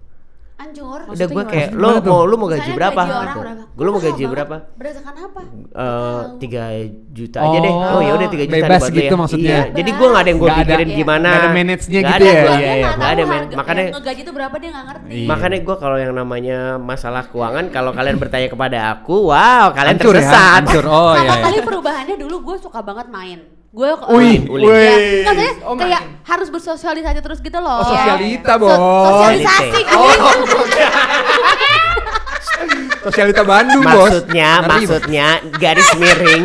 [SPEAKER 3] Anjur.
[SPEAKER 1] Udah gua kayak
[SPEAKER 2] Maksudnya
[SPEAKER 1] lo
[SPEAKER 2] gimana tuh?
[SPEAKER 1] mau lu mau gaji
[SPEAKER 3] Misalnya
[SPEAKER 1] berapa?
[SPEAKER 3] gaji orang
[SPEAKER 1] gitu.
[SPEAKER 3] berapa?
[SPEAKER 1] Gua lu mau
[SPEAKER 3] Mahal
[SPEAKER 1] gaji
[SPEAKER 3] banget.
[SPEAKER 1] berapa?
[SPEAKER 3] Berdasarkan apa?
[SPEAKER 1] eh tiga juta aja deh.
[SPEAKER 2] Oh,
[SPEAKER 1] Oh ya udah tiga juta
[SPEAKER 2] bebas
[SPEAKER 1] dibuat lo
[SPEAKER 2] gitu maksudnya.
[SPEAKER 1] Iya. Jadi gue nggak ada yang gue
[SPEAKER 2] Nggak ada-
[SPEAKER 1] pikirin
[SPEAKER 2] iya.
[SPEAKER 1] gimana.
[SPEAKER 2] Nggak ada manage-nya
[SPEAKER 1] Nggak
[SPEAKER 2] gitu
[SPEAKER 1] ada.
[SPEAKER 2] ya?
[SPEAKER 1] Gua-
[SPEAKER 2] Iya, iya.
[SPEAKER 1] Nggak ada men. Makanya
[SPEAKER 3] ngegaji itu berapa dia nggak ngerti.
[SPEAKER 2] Iya.
[SPEAKER 1] makanya gue kalau yang namanya masalah keuangan kalau kalian bertanya kepada aku, wow kalian
[SPEAKER 2] hancur ya,
[SPEAKER 1] tersesat.
[SPEAKER 2] hancur. Oh
[SPEAKER 3] Sama
[SPEAKER 2] iya. iya.
[SPEAKER 3] kali perubahaannya dulu gue suka banget main. Gue
[SPEAKER 2] Wih,
[SPEAKER 1] Ulin. Iya.
[SPEAKER 2] wih.
[SPEAKER 3] Iya. maksudnya
[SPEAKER 2] Oh, main.
[SPEAKER 3] kayak harus bersosialisasi terus gitu
[SPEAKER 2] Oh,
[SPEAKER 3] loh.
[SPEAKER 2] sosialita,
[SPEAKER 3] So-
[SPEAKER 2] Bos.
[SPEAKER 3] sosialisasi. gitu.
[SPEAKER 2] Oh, sosialita Bandung, Bos.
[SPEAKER 1] Maksudnya,
[SPEAKER 2] Ngeri, Bos.
[SPEAKER 1] maksudnya garis miring,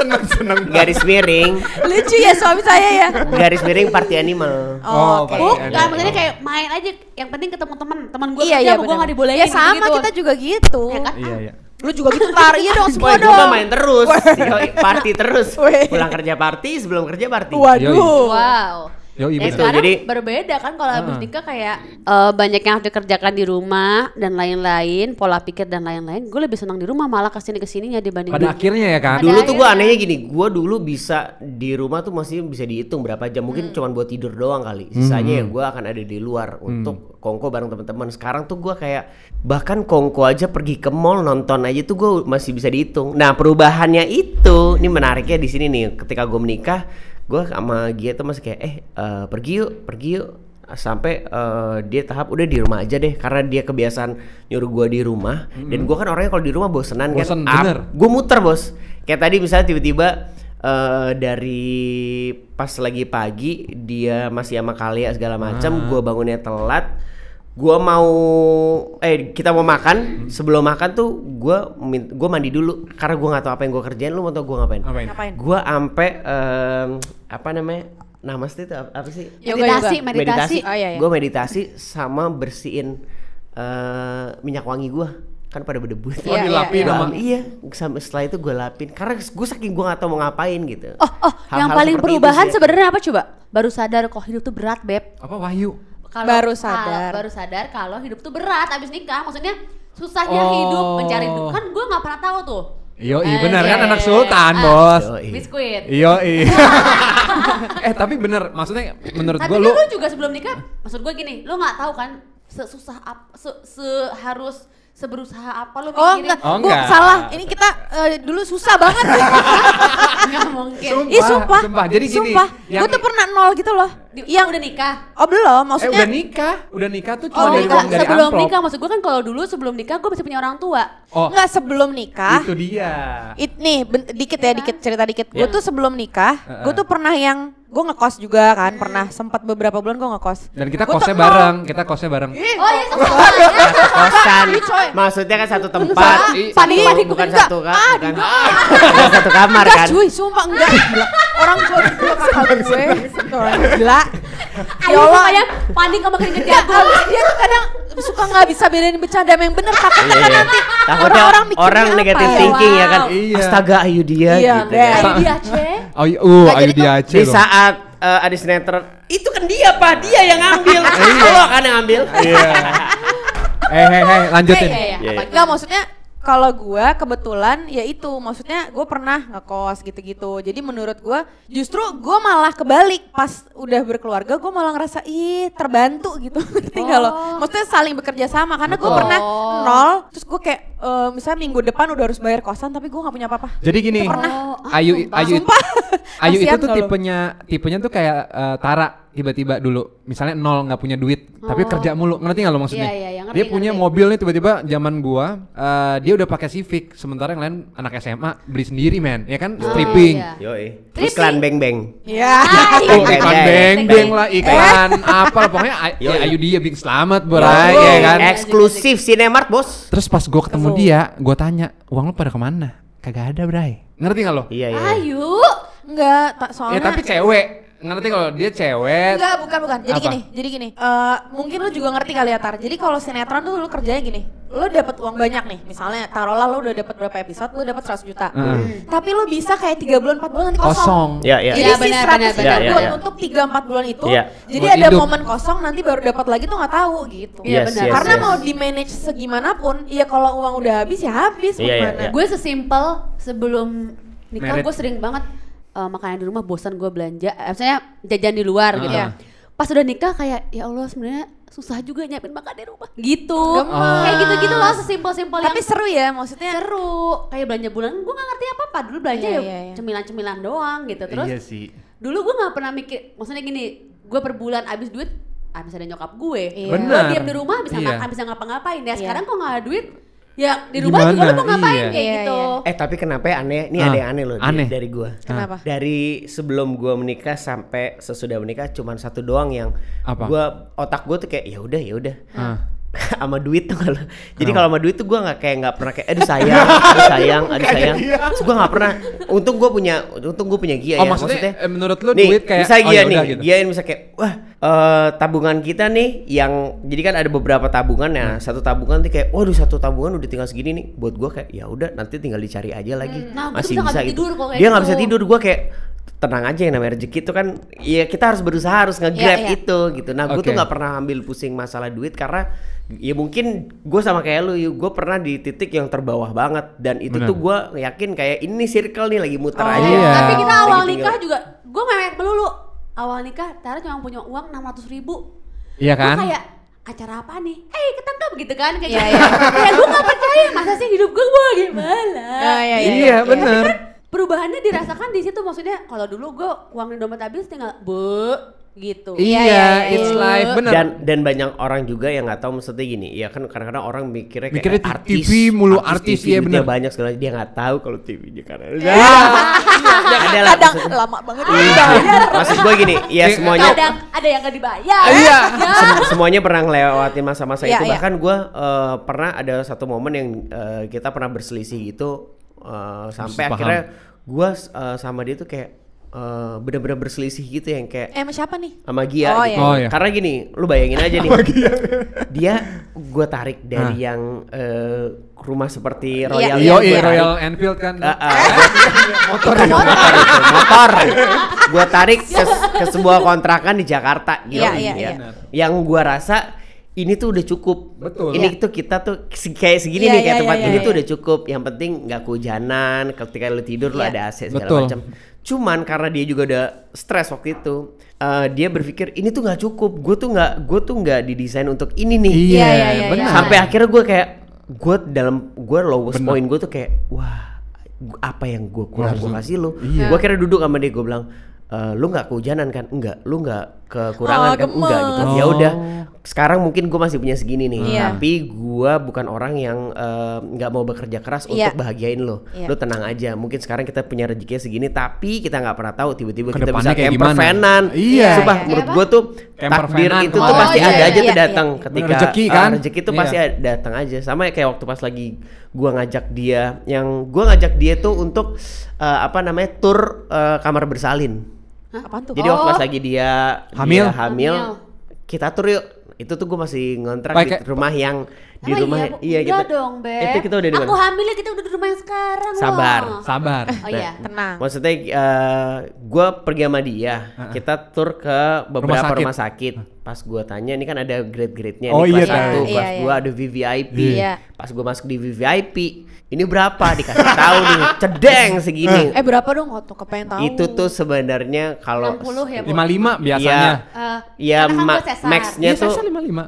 [SPEAKER 2] seneng-seneng.
[SPEAKER 1] garis miring,
[SPEAKER 4] Lucu ya suami saya ya.
[SPEAKER 1] garis miring party animal.
[SPEAKER 2] Oh,
[SPEAKER 4] oke.
[SPEAKER 2] paling
[SPEAKER 3] Bukan,
[SPEAKER 2] enak.
[SPEAKER 3] maksudnya kayak main aja. Yang penting ketemu teman. Teman gue
[SPEAKER 4] Iya,
[SPEAKER 3] kerja
[SPEAKER 4] iya.
[SPEAKER 3] sama gue
[SPEAKER 4] benar.
[SPEAKER 3] nggak dibolehin.
[SPEAKER 4] Ya sama
[SPEAKER 3] gitu-gitu.
[SPEAKER 4] kita juga gitu.
[SPEAKER 3] Ya kan?
[SPEAKER 2] Iya, iya.
[SPEAKER 4] Lu juga gitu tar. Iya dong
[SPEAKER 1] Wah,
[SPEAKER 4] semua
[SPEAKER 1] gue mah
[SPEAKER 4] dong.
[SPEAKER 1] main terus, Yoi, party terus,
[SPEAKER 4] Weh.
[SPEAKER 1] pulang kerja party, sebelum kerja party.
[SPEAKER 4] Waduh.
[SPEAKER 3] Wow.
[SPEAKER 2] Yoi, bener.
[SPEAKER 3] Ya, sekarang
[SPEAKER 1] Jadi-
[SPEAKER 3] berbeda kan kalau habis
[SPEAKER 2] Iya, Ah.
[SPEAKER 3] nikah kayak eh, banyak yang harus dikerjakan di rumah dan lain-lain, pola pikir dan lain-lain. Gue lebih senang di rumah malah kesini kesininya dibanding
[SPEAKER 2] Pada akhirnya ya kan.
[SPEAKER 3] Ada
[SPEAKER 1] Dulu tuh gue
[SPEAKER 3] akhirnya.
[SPEAKER 1] anehnya gini, gue dulu bisa di rumah tuh masih bisa dihitung berapa jam,
[SPEAKER 2] Hmm.
[SPEAKER 1] mungkin cuman buat tidur doang kali. Sisanya ya gue akan ada di luar untuk kongko bareng teman-teman. Sekarang tuh gue kayak bahkan kongko aja pergi ke mall nonton aja tuh gue masih bisa dihitung. Nah perubahannya itu, ini menariknya di sini nih. Ketika gue menikah, gue sama Gia tuh masih kayak eh eh, pergi yuk, pergi yuk sampai eh, dia tahap udah di rumah aja deh karena dia kebiasaan nyuruh gua di rumah dan gua kan orangnya kalau di rumah bosenan
[SPEAKER 2] Hmm. Bosen,
[SPEAKER 1] kan
[SPEAKER 2] bener.
[SPEAKER 1] gue muter bos kayak tadi misalnya tiba-tiba eh, dari pas lagi pagi dia masih sama kalia segala macam gua bangunnya telat gua mau eh kita mau makan sebelum makan tuh gua min- gua mandi dulu karena gua nggak tahu apa yang gua kerjain lu mau tau gua ngapain
[SPEAKER 2] Ngapain?
[SPEAKER 4] Ngapain?
[SPEAKER 1] gua ampe em, apa namanya namaste itu apa apa sih
[SPEAKER 3] meditasi,
[SPEAKER 4] Yoga-yoga.
[SPEAKER 3] meditasi.
[SPEAKER 4] Oh, iya, iya.
[SPEAKER 1] Gua meditasi sama bersihin eh, minyak wangi gua kan pada berdebu
[SPEAKER 2] Oh,
[SPEAKER 4] Iya,
[SPEAKER 2] dilapin
[SPEAKER 4] iya,
[SPEAKER 1] Gua
[SPEAKER 2] sama
[SPEAKER 1] am- iya, sama setelah itu gue lapin karena gue saking gue gak tau mau ngapain gitu.
[SPEAKER 3] Oh, oh,
[SPEAKER 1] Hal-hal
[SPEAKER 3] yang paling
[SPEAKER 1] seperti itu
[SPEAKER 3] perubahan
[SPEAKER 1] sih.
[SPEAKER 3] sebenarnya apa coba? Baru sadar kok hidup tuh berat, Beb.
[SPEAKER 2] apa Wahyu?
[SPEAKER 3] Kalau- kalau-
[SPEAKER 4] Baru sadar.
[SPEAKER 3] baru sadar kalau hidup tuh berat abis nikah. Maksudnya susahnya
[SPEAKER 2] Oh.
[SPEAKER 3] hidup mencari hidup. Kan gue nggak pernah tahu tuh.
[SPEAKER 2] Yo,
[SPEAKER 3] Eh,
[SPEAKER 2] benar kan
[SPEAKER 3] iya,
[SPEAKER 2] anak
[SPEAKER 3] iya,
[SPEAKER 2] sultan,
[SPEAKER 3] iya.
[SPEAKER 2] Bos. Iya,
[SPEAKER 1] Yoi.
[SPEAKER 3] Biskuit.
[SPEAKER 2] Yo, eh, tapi bener maksudnya menurut
[SPEAKER 3] Tapi
[SPEAKER 2] gua
[SPEAKER 3] kan
[SPEAKER 2] lu Eh,
[SPEAKER 3] lu juga sebelum nikah, maksud gue gini, lu nggak tahu kan sesusah apa, se, seharus seberusaha apa lu mikirin.
[SPEAKER 4] Oh enggak,
[SPEAKER 2] Oh,
[SPEAKER 4] Bu,
[SPEAKER 2] enggak.
[SPEAKER 4] salah. Ini kita eh, dulu susah banget.
[SPEAKER 3] Nggak mungkin.
[SPEAKER 2] Sumpah,
[SPEAKER 4] Ih sumpah.
[SPEAKER 2] sumpah. Jadi gini,
[SPEAKER 4] Sumpah.
[SPEAKER 2] yang-
[SPEAKER 4] Gue tuh pernah nol gitu loh.
[SPEAKER 3] Di-
[SPEAKER 4] Yang
[SPEAKER 3] udah nikah.
[SPEAKER 4] Oh belum,
[SPEAKER 2] eh
[SPEAKER 4] maksudnya
[SPEAKER 2] udah nikah, udah nikah tuh
[SPEAKER 3] Oh,
[SPEAKER 2] cuma dari
[SPEAKER 3] enggak,
[SPEAKER 2] uang dari
[SPEAKER 3] sebelum
[SPEAKER 2] amplop.
[SPEAKER 3] nikah maksud gue kan kalau dulu sebelum nikah gue masih punya orang tua.
[SPEAKER 2] Oh, Gitu.
[SPEAKER 4] enggak sebelum nikah.
[SPEAKER 2] itu dia.
[SPEAKER 4] It nih, ben- dikit ya, dikit cerita dikit. Gue
[SPEAKER 2] Iya. eh.
[SPEAKER 4] tuh sebelum nikah, gue
[SPEAKER 2] Heeh.
[SPEAKER 4] tuh pernah yang gue ngekos juga kan, pernah sempat beberapa bulan gue ngekos.
[SPEAKER 2] Dan kita
[SPEAKER 4] Gua tuh
[SPEAKER 2] kosnya
[SPEAKER 4] nol.
[SPEAKER 2] bareng, kita kosnya bareng.
[SPEAKER 3] Oh iya, sama.
[SPEAKER 1] Kosan, maksudnya kan satu tempat, satu-
[SPEAKER 4] Enggak, Fadil,
[SPEAKER 1] bukan
[SPEAKER 4] enggak.
[SPEAKER 1] satu kan,
[SPEAKER 4] Ah,
[SPEAKER 1] bukan, bukan satu kamar
[SPEAKER 4] enggak
[SPEAKER 1] kan.
[SPEAKER 4] cuy, sumpah enggak. Gila. Orang tua berdua kakak gue. Orang Gila. Ya
[SPEAKER 3] Ayo
[SPEAKER 4] Allah.
[SPEAKER 3] ya, panik sama keringet
[SPEAKER 4] Ya,
[SPEAKER 3] jagung.
[SPEAKER 4] abis dia tuh kadang suka nggak bisa bedain bercanda sama yang bener takutnya
[SPEAKER 1] Iya,
[SPEAKER 4] kan
[SPEAKER 1] iya.
[SPEAKER 4] nanti
[SPEAKER 1] Takutnya
[SPEAKER 4] orang-orang
[SPEAKER 1] orang,
[SPEAKER 4] mikirnya apa
[SPEAKER 1] negatif
[SPEAKER 4] ya?
[SPEAKER 1] thinking ya kan.
[SPEAKER 2] Wow.
[SPEAKER 1] Astaga, ayo dia
[SPEAKER 4] Iya,
[SPEAKER 1] gitu.
[SPEAKER 4] Beb.
[SPEAKER 1] kan.
[SPEAKER 3] Ayo dia, Ce.
[SPEAKER 2] Oh, iya, uh,
[SPEAKER 4] Nggak,
[SPEAKER 2] ayo
[SPEAKER 4] jadi
[SPEAKER 2] dia aja
[SPEAKER 1] Di
[SPEAKER 2] loh.
[SPEAKER 1] saat eh, ada sinetron, itu kan dia pak, dia yang ngambil, lo kan yang ngambil.
[SPEAKER 2] Iya. Eh, eh, eh, lanjutin.
[SPEAKER 3] Iya, iya,
[SPEAKER 1] Iya,
[SPEAKER 3] apa
[SPEAKER 1] iya.
[SPEAKER 4] Enggak maksudnya kalau gue kebetulan ya itu maksudnya gue pernah ngekos gitu-gitu jadi menurut gue justru gue malah kebalik pas udah berkeluarga gue malah ngerasa ih terbantu gitu ngerti nggak lo maksudnya saling bekerja sama karena gue
[SPEAKER 2] Betul.
[SPEAKER 4] pernah nol terus gue kayak eh, misalnya minggu depan udah harus bayar kosan tapi gue nggak punya apa-apa
[SPEAKER 2] Jadi gini,
[SPEAKER 3] pernah.
[SPEAKER 2] Ayu
[SPEAKER 3] ah,
[SPEAKER 2] Ayu
[SPEAKER 4] sumpah
[SPEAKER 2] Ayu itu
[SPEAKER 4] Kasihan
[SPEAKER 2] tuh
[SPEAKER 4] nggak lo?
[SPEAKER 2] tipenya tipenya tuh kayak eh, Tara tiba-tiba dulu misalnya nol nggak punya duit tapi kerja mulu ngerti nggak lo maksudnya?
[SPEAKER 3] Oh. Iya, iya, iya, ngerti,
[SPEAKER 2] dia punya
[SPEAKER 3] ngerti.
[SPEAKER 2] mobil nih tiba-tiba zaman gua eh, dia udah pakai Civic sementara yang lain anak SMA beli sendiri men ya kan stripping.
[SPEAKER 3] iya.
[SPEAKER 1] Yoi,
[SPEAKER 3] Tripi.
[SPEAKER 1] iklan beng beng.
[SPEAKER 4] Iya.
[SPEAKER 3] Ah,
[SPEAKER 2] Oh,
[SPEAKER 1] Iya, iya,
[SPEAKER 2] iklan
[SPEAKER 1] iya.
[SPEAKER 2] beng beng lah
[SPEAKER 3] Eh?
[SPEAKER 2] iklan apa lah. pokoknya Ay-
[SPEAKER 1] Yo,
[SPEAKER 2] ya,
[SPEAKER 1] yo.
[SPEAKER 2] Ayu dia bikin selamat berai ya kan.
[SPEAKER 1] Eksklusif Cinemark bos.
[SPEAKER 2] Terus pas gua ketemu dia, gua tanya, "Uang lu pada kemana?" Kagak ada, Bray. Ngerti nggak lo?
[SPEAKER 1] Iya iya.
[SPEAKER 3] Ayu.
[SPEAKER 4] Enggak, tak soalnya.
[SPEAKER 2] Ya tapi cewek. Ngerti kalau
[SPEAKER 1] Eh,
[SPEAKER 2] dia cewek. Hmm.
[SPEAKER 4] Enggak, bukan bukan. Jadi
[SPEAKER 2] Apa?
[SPEAKER 4] gini, jadi gini. Eh, mungkin lu juga ngerti kali ya Tar. Jadi kalau sinetron tuh lu kerjanya gini. Lu dapat uang banyak nih. Misalnya taruhlah lu udah dapat berapa episode, lu dapat 100 juta.
[SPEAKER 1] Hmm.
[SPEAKER 2] Heeh.
[SPEAKER 4] Tapi lu bisa kayak 3 bulan 4 bulan nanti kosong.
[SPEAKER 2] Kosong.
[SPEAKER 1] Iya iya.
[SPEAKER 4] Jadi
[SPEAKER 3] Iya,
[SPEAKER 4] si
[SPEAKER 3] benar,
[SPEAKER 4] 100
[SPEAKER 3] benar,
[SPEAKER 4] juta
[SPEAKER 1] benar.
[SPEAKER 4] buat
[SPEAKER 1] Iya, iya.
[SPEAKER 4] untuk 3 4 bulan itu.
[SPEAKER 1] Iya.
[SPEAKER 4] Jadi
[SPEAKER 2] Buat
[SPEAKER 4] ada
[SPEAKER 2] hidup.
[SPEAKER 4] momen kosong nanti baru dapat lagi tuh nggak tahu gitu.
[SPEAKER 3] Iya,
[SPEAKER 1] Yes,
[SPEAKER 3] benar.
[SPEAKER 1] yes,
[SPEAKER 4] Karena
[SPEAKER 1] yes.
[SPEAKER 4] mau di manage segimanapun, ya kalau uang udah habis ya habis
[SPEAKER 1] Iya, iya,
[SPEAKER 4] bagaimana.
[SPEAKER 1] iya.
[SPEAKER 3] Gue sesimpel sebelum nikah
[SPEAKER 2] Merit.
[SPEAKER 3] gue sering banget eh, makanan di rumah bosan gue belanja, eh, maksudnya jajan di luar gitu.
[SPEAKER 2] Ah.
[SPEAKER 3] Pas udah nikah kayak ya Allah sebenarnya susah juga nyiapin makan di rumah. Gitu.
[SPEAKER 4] Gemes.
[SPEAKER 3] Kayak gitu-gitu loh sesimpel-simpel yang
[SPEAKER 4] Tapi seru ya maksudnya.
[SPEAKER 3] seru. Kayak belanja bulan gue gak ngerti apa-apa dulu belanja
[SPEAKER 4] Iya,
[SPEAKER 3] ya
[SPEAKER 4] iya, iya.
[SPEAKER 3] cemilan-cemilan doang gitu. Terus
[SPEAKER 2] Iya sih.
[SPEAKER 3] dulu gue nggak pernah mikir maksudnya gini gue per bulan abis duit abis ada nyokap gue
[SPEAKER 4] Iya.
[SPEAKER 3] gue
[SPEAKER 2] Benar.
[SPEAKER 3] diam di rumah bisa
[SPEAKER 2] Iya.
[SPEAKER 3] makan bisa ngapa-ngapain ya
[SPEAKER 4] Iya.
[SPEAKER 3] sekarang kok nggak ada duit ya di rumah juga
[SPEAKER 2] Gimana?
[SPEAKER 3] lu mau ngapain
[SPEAKER 2] Iya.
[SPEAKER 3] kayak
[SPEAKER 4] Iya,
[SPEAKER 3] gitu
[SPEAKER 1] Eh tapi kenapa ya aneh? Ini
[SPEAKER 2] Ah,
[SPEAKER 1] ada yang aneh loh di-
[SPEAKER 2] aneh. Ah.
[SPEAKER 1] dari gua.
[SPEAKER 4] Kenapa?
[SPEAKER 1] Dari sebelum gua menikah sampai sesudah menikah cuman satu doang yang
[SPEAKER 2] Apa?
[SPEAKER 1] gua otak gua tuh kayak ya udah ya udah.
[SPEAKER 2] Ah.
[SPEAKER 1] sama duit tuh kalau jadi kalau sama duit tuh gua nggak kayak nggak pernah kayak aduh sayang aduh sayang aduh sayang Terus gua nggak pernah untung gua punya untung gua punya gia
[SPEAKER 2] Oh,
[SPEAKER 1] ya
[SPEAKER 2] maksudnya, eh, menurut lu
[SPEAKER 1] nih,
[SPEAKER 2] duit kayak,
[SPEAKER 1] misalnya
[SPEAKER 2] oh,
[SPEAKER 1] gia
[SPEAKER 2] ya
[SPEAKER 1] nih Iya.
[SPEAKER 2] udah gitu.
[SPEAKER 1] gia yang bisa kayak wah eh, tabungan kita nih yang jadi kan ada beberapa tabungan ya
[SPEAKER 2] Hmm.
[SPEAKER 1] satu tabungan tuh kayak waduh satu tabungan udah tinggal segini nih buat gua kayak ya udah nanti tinggal dicari aja lagi masih
[SPEAKER 3] Hmm, nah, gua tuh bisa nggak
[SPEAKER 1] bisa
[SPEAKER 3] bisa
[SPEAKER 1] gitu
[SPEAKER 3] tidur kalau kayak
[SPEAKER 1] dia nggak bisa
[SPEAKER 3] gitu.
[SPEAKER 1] tidur gua kayak tenang aja yang namanya rezeki itu kan ya kita harus berusaha harus nge-grab
[SPEAKER 5] Iya, iya.
[SPEAKER 1] itu gitu. Nah, gue tuh
[SPEAKER 2] Oke.
[SPEAKER 1] nggak pernah ambil pusing masalah duit karena ya mungkin gue sama kayak lu, gue pernah di titik yang terbawah banget dan itu
[SPEAKER 2] Benar.
[SPEAKER 1] tuh gue yakin kayak ini circle nih lagi muter
[SPEAKER 5] Oh,
[SPEAKER 1] aja.
[SPEAKER 2] iya.
[SPEAKER 5] Tapi kita
[SPEAKER 1] Lagi
[SPEAKER 5] awal
[SPEAKER 1] tinggal.
[SPEAKER 5] nikah
[SPEAKER 3] juga gue mewek melulu awal nikah Tara cuma punya uang enam ratus ribu
[SPEAKER 2] Iya
[SPEAKER 3] Gua
[SPEAKER 2] kan?
[SPEAKER 3] kayak acara apa nih eh ketangkap gitu kan kayak ya, ya. gue gak percaya masa sih hidup gue gue gimana
[SPEAKER 4] Ah, iya, iya,
[SPEAKER 2] Iya, bener.
[SPEAKER 3] Kan perubahannya dirasakan di situ maksudnya kalau dulu gue uang di dompet habis tinggal bu gitu
[SPEAKER 2] Iya,
[SPEAKER 4] iya, iya.
[SPEAKER 2] it's life, bener.
[SPEAKER 1] Dan dan banyak orang juga yang nggak tahu maksudnya gini, ya kan kadang-kadang orang mikirnya kayak
[SPEAKER 2] Mikirnya di
[SPEAKER 1] artis,
[SPEAKER 2] TV mulu, artis, iya
[SPEAKER 1] TV, duitnya
[SPEAKER 2] bener.
[SPEAKER 1] banyak segala dia nggak tahu kalau TV dia karena ada lah
[SPEAKER 4] Iya.
[SPEAKER 1] Iya.
[SPEAKER 4] Kadang
[SPEAKER 1] maksud-
[SPEAKER 4] lama banget.
[SPEAKER 2] Ah,
[SPEAKER 1] maksud gue gini, ya
[SPEAKER 2] Iya.
[SPEAKER 1] semuanya
[SPEAKER 3] kadang ada yang gak dibayar
[SPEAKER 2] Iya.
[SPEAKER 1] Sem- semuanya pernah ngelewatin masa-masa
[SPEAKER 4] Iya,
[SPEAKER 1] itu
[SPEAKER 4] iya.
[SPEAKER 1] bahkan gue pernah ada satu momen yang eh, kita pernah berselisih gitu eh, sampai
[SPEAKER 2] Paham.
[SPEAKER 1] akhirnya gue sama dia tuh kayak eh, bener-bener berselisih gitu yang kayak
[SPEAKER 4] Eh, sama siapa nih?
[SPEAKER 1] sama Gia gitu.
[SPEAKER 4] Oh,
[SPEAKER 2] iya. Oh, iya. Oh,
[SPEAKER 1] Karena gini, lu bayangin aja nih. dia gue tarik dari yang eh, rumah seperti Royal yang
[SPEAKER 2] Yo,
[SPEAKER 1] gua
[SPEAKER 2] Royal
[SPEAKER 1] tarik.
[SPEAKER 2] Enfield kan.
[SPEAKER 1] iya, Ah, Iya, ah, motor motor itu, motor gue tarik ke, ke sebuah kontrakan di Jakarta gitu
[SPEAKER 4] Iya, iya, iya.
[SPEAKER 1] yang gue rasa ini tuh udah cukup
[SPEAKER 2] Betul.
[SPEAKER 1] ini tuh kita tuh se- kayak segini
[SPEAKER 4] Iya,
[SPEAKER 1] nih kayak
[SPEAKER 4] iya,
[SPEAKER 1] tempat
[SPEAKER 4] iya,
[SPEAKER 1] ini
[SPEAKER 4] iya.
[SPEAKER 1] tuh udah cukup yang penting nggak kehujanan ketika lu tidur lu
[SPEAKER 4] Iya.
[SPEAKER 1] ada AC
[SPEAKER 2] Betul.
[SPEAKER 1] segala macam cuman karena dia juga udah stres waktu itu eh, dia berpikir ini tuh nggak cukup gue tuh nggak gue tuh nggak didesain untuk ini nih
[SPEAKER 2] Iya,
[SPEAKER 4] iya, iya,
[SPEAKER 2] benar.
[SPEAKER 4] iya.
[SPEAKER 1] sampai akhirnya gue kayak gue dalam gue lowest
[SPEAKER 2] Bener.
[SPEAKER 1] point gue tuh kayak wah gua- apa yang gue kurang gue
[SPEAKER 2] Kurang.
[SPEAKER 1] kasih lu
[SPEAKER 2] Iya.
[SPEAKER 1] gue akhirnya duduk sama dia gue bilang "Eh, lu nggak kehujanan kan enggak lu nggak kekurangan
[SPEAKER 4] Oh,
[SPEAKER 1] kan enggak gitu
[SPEAKER 2] gemes.
[SPEAKER 1] ya udah
[SPEAKER 2] Oh.
[SPEAKER 1] sekarang mungkin gue masih punya segini nih
[SPEAKER 4] Iya.
[SPEAKER 1] tapi gue bukan orang yang eh, nggak mau bekerja keras
[SPEAKER 4] Iya.
[SPEAKER 1] untuk bahagiain lo
[SPEAKER 4] Iya.
[SPEAKER 1] lo tenang aja mungkin sekarang kita punya rezekinya segini tapi kita nggak pernah tahu tiba-tiba kita
[SPEAKER 2] Kedepannya
[SPEAKER 1] bisa
[SPEAKER 2] kayak
[SPEAKER 1] camper
[SPEAKER 2] gimana?
[SPEAKER 1] vanan
[SPEAKER 2] Iya.
[SPEAKER 1] Sumpah,
[SPEAKER 4] Iya.
[SPEAKER 1] menurut
[SPEAKER 3] Kayak
[SPEAKER 1] gue tuh
[SPEAKER 2] Camper
[SPEAKER 1] takdir
[SPEAKER 2] vanan
[SPEAKER 1] itu tuh
[SPEAKER 2] kemarin.
[SPEAKER 1] pasti
[SPEAKER 5] Oh, iya,
[SPEAKER 1] ada
[SPEAKER 5] iya,
[SPEAKER 1] aja
[SPEAKER 4] iya,
[SPEAKER 1] tuh datang
[SPEAKER 4] iya.
[SPEAKER 1] ketika
[SPEAKER 2] Rezeki
[SPEAKER 1] ah,
[SPEAKER 2] kan?
[SPEAKER 1] rezeki tuh
[SPEAKER 2] Iya.
[SPEAKER 1] pasti ada- datang aja sama ya kayak waktu pas lagi gua ngajak dia yang gua ngajak dia tuh untuk eh, apa namanya tur eh, kamar bersalin
[SPEAKER 4] iya. Apaan tuh? Oh,
[SPEAKER 1] jadi waktu pas lagi dia
[SPEAKER 2] Hamil?
[SPEAKER 1] dia hamil,
[SPEAKER 3] Oh. Hamil.
[SPEAKER 1] kita tur yuk itu tuh gua masih ngontrak
[SPEAKER 2] Pakai-
[SPEAKER 1] di rumah yang di
[SPEAKER 3] Emang
[SPEAKER 1] rumah ya.
[SPEAKER 3] iya, Bu? Udah dong Beb
[SPEAKER 1] itu kita udah di
[SPEAKER 3] aku
[SPEAKER 1] mana?
[SPEAKER 3] hamilnya kita udah di rumah yang sekarang loh.
[SPEAKER 1] Sabar.
[SPEAKER 2] Sabar.
[SPEAKER 3] oh iya
[SPEAKER 4] Tenang.
[SPEAKER 1] Maksudnya gue pergi sama dia, kita tur ke beberapa
[SPEAKER 2] sakit.
[SPEAKER 1] rumah sakit. Pas gue tanya, ini kan ada grade-grade-nya.
[SPEAKER 2] Oh,
[SPEAKER 1] nih,
[SPEAKER 2] iya,
[SPEAKER 1] kelas
[SPEAKER 2] iya,
[SPEAKER 1] satu,
[SPEAKER 4] iya,
[SPEAKER 1] kelas
[SPEAKER 4] iya.
[SPEAKER 1] dua ada VVIP.
[SPEAKER 4] Iya.
[SPEAKER 1] Pas gue masuk di VVIP, ini berapa? Dikasih tahu nih, cedeng segini.
[SPEAKER 4] Eh, berapa dong? Kok tuh kepengen tahu.
[SPEAKER 1] Itu tuh sebenarnya kalau
[SPEAKER 3] 60 ya bu
[SPEAKER 2] 55 biasanya.
[SPEAKER 3] Eh,
[SPEAKER 1] ya
[SPEAKER 3] karena kan
[SPEAKER 1] ma-
[SPEAKER 3] gua sesar.
[SPEAKER 1] max-nya
[SPEAKER 2] Iya, saya
[SPEAKER 1] tuh
[SPEAKER 2] 55.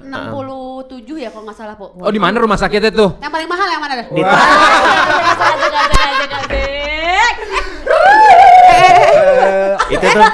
[SPEAKER 3] 67 ya kalau nggak salah bu
[SPEAKER 2] Oh, di mana rumah sakitnya tuh?
[SPEAKER 3] yang paling mahal yang mana dah?
[SPEAKER 1] Di-
[SPEAKER 3] Wah, biasa aja, biasa aja, biasa aja.
[SPEAKER 1] itu tuh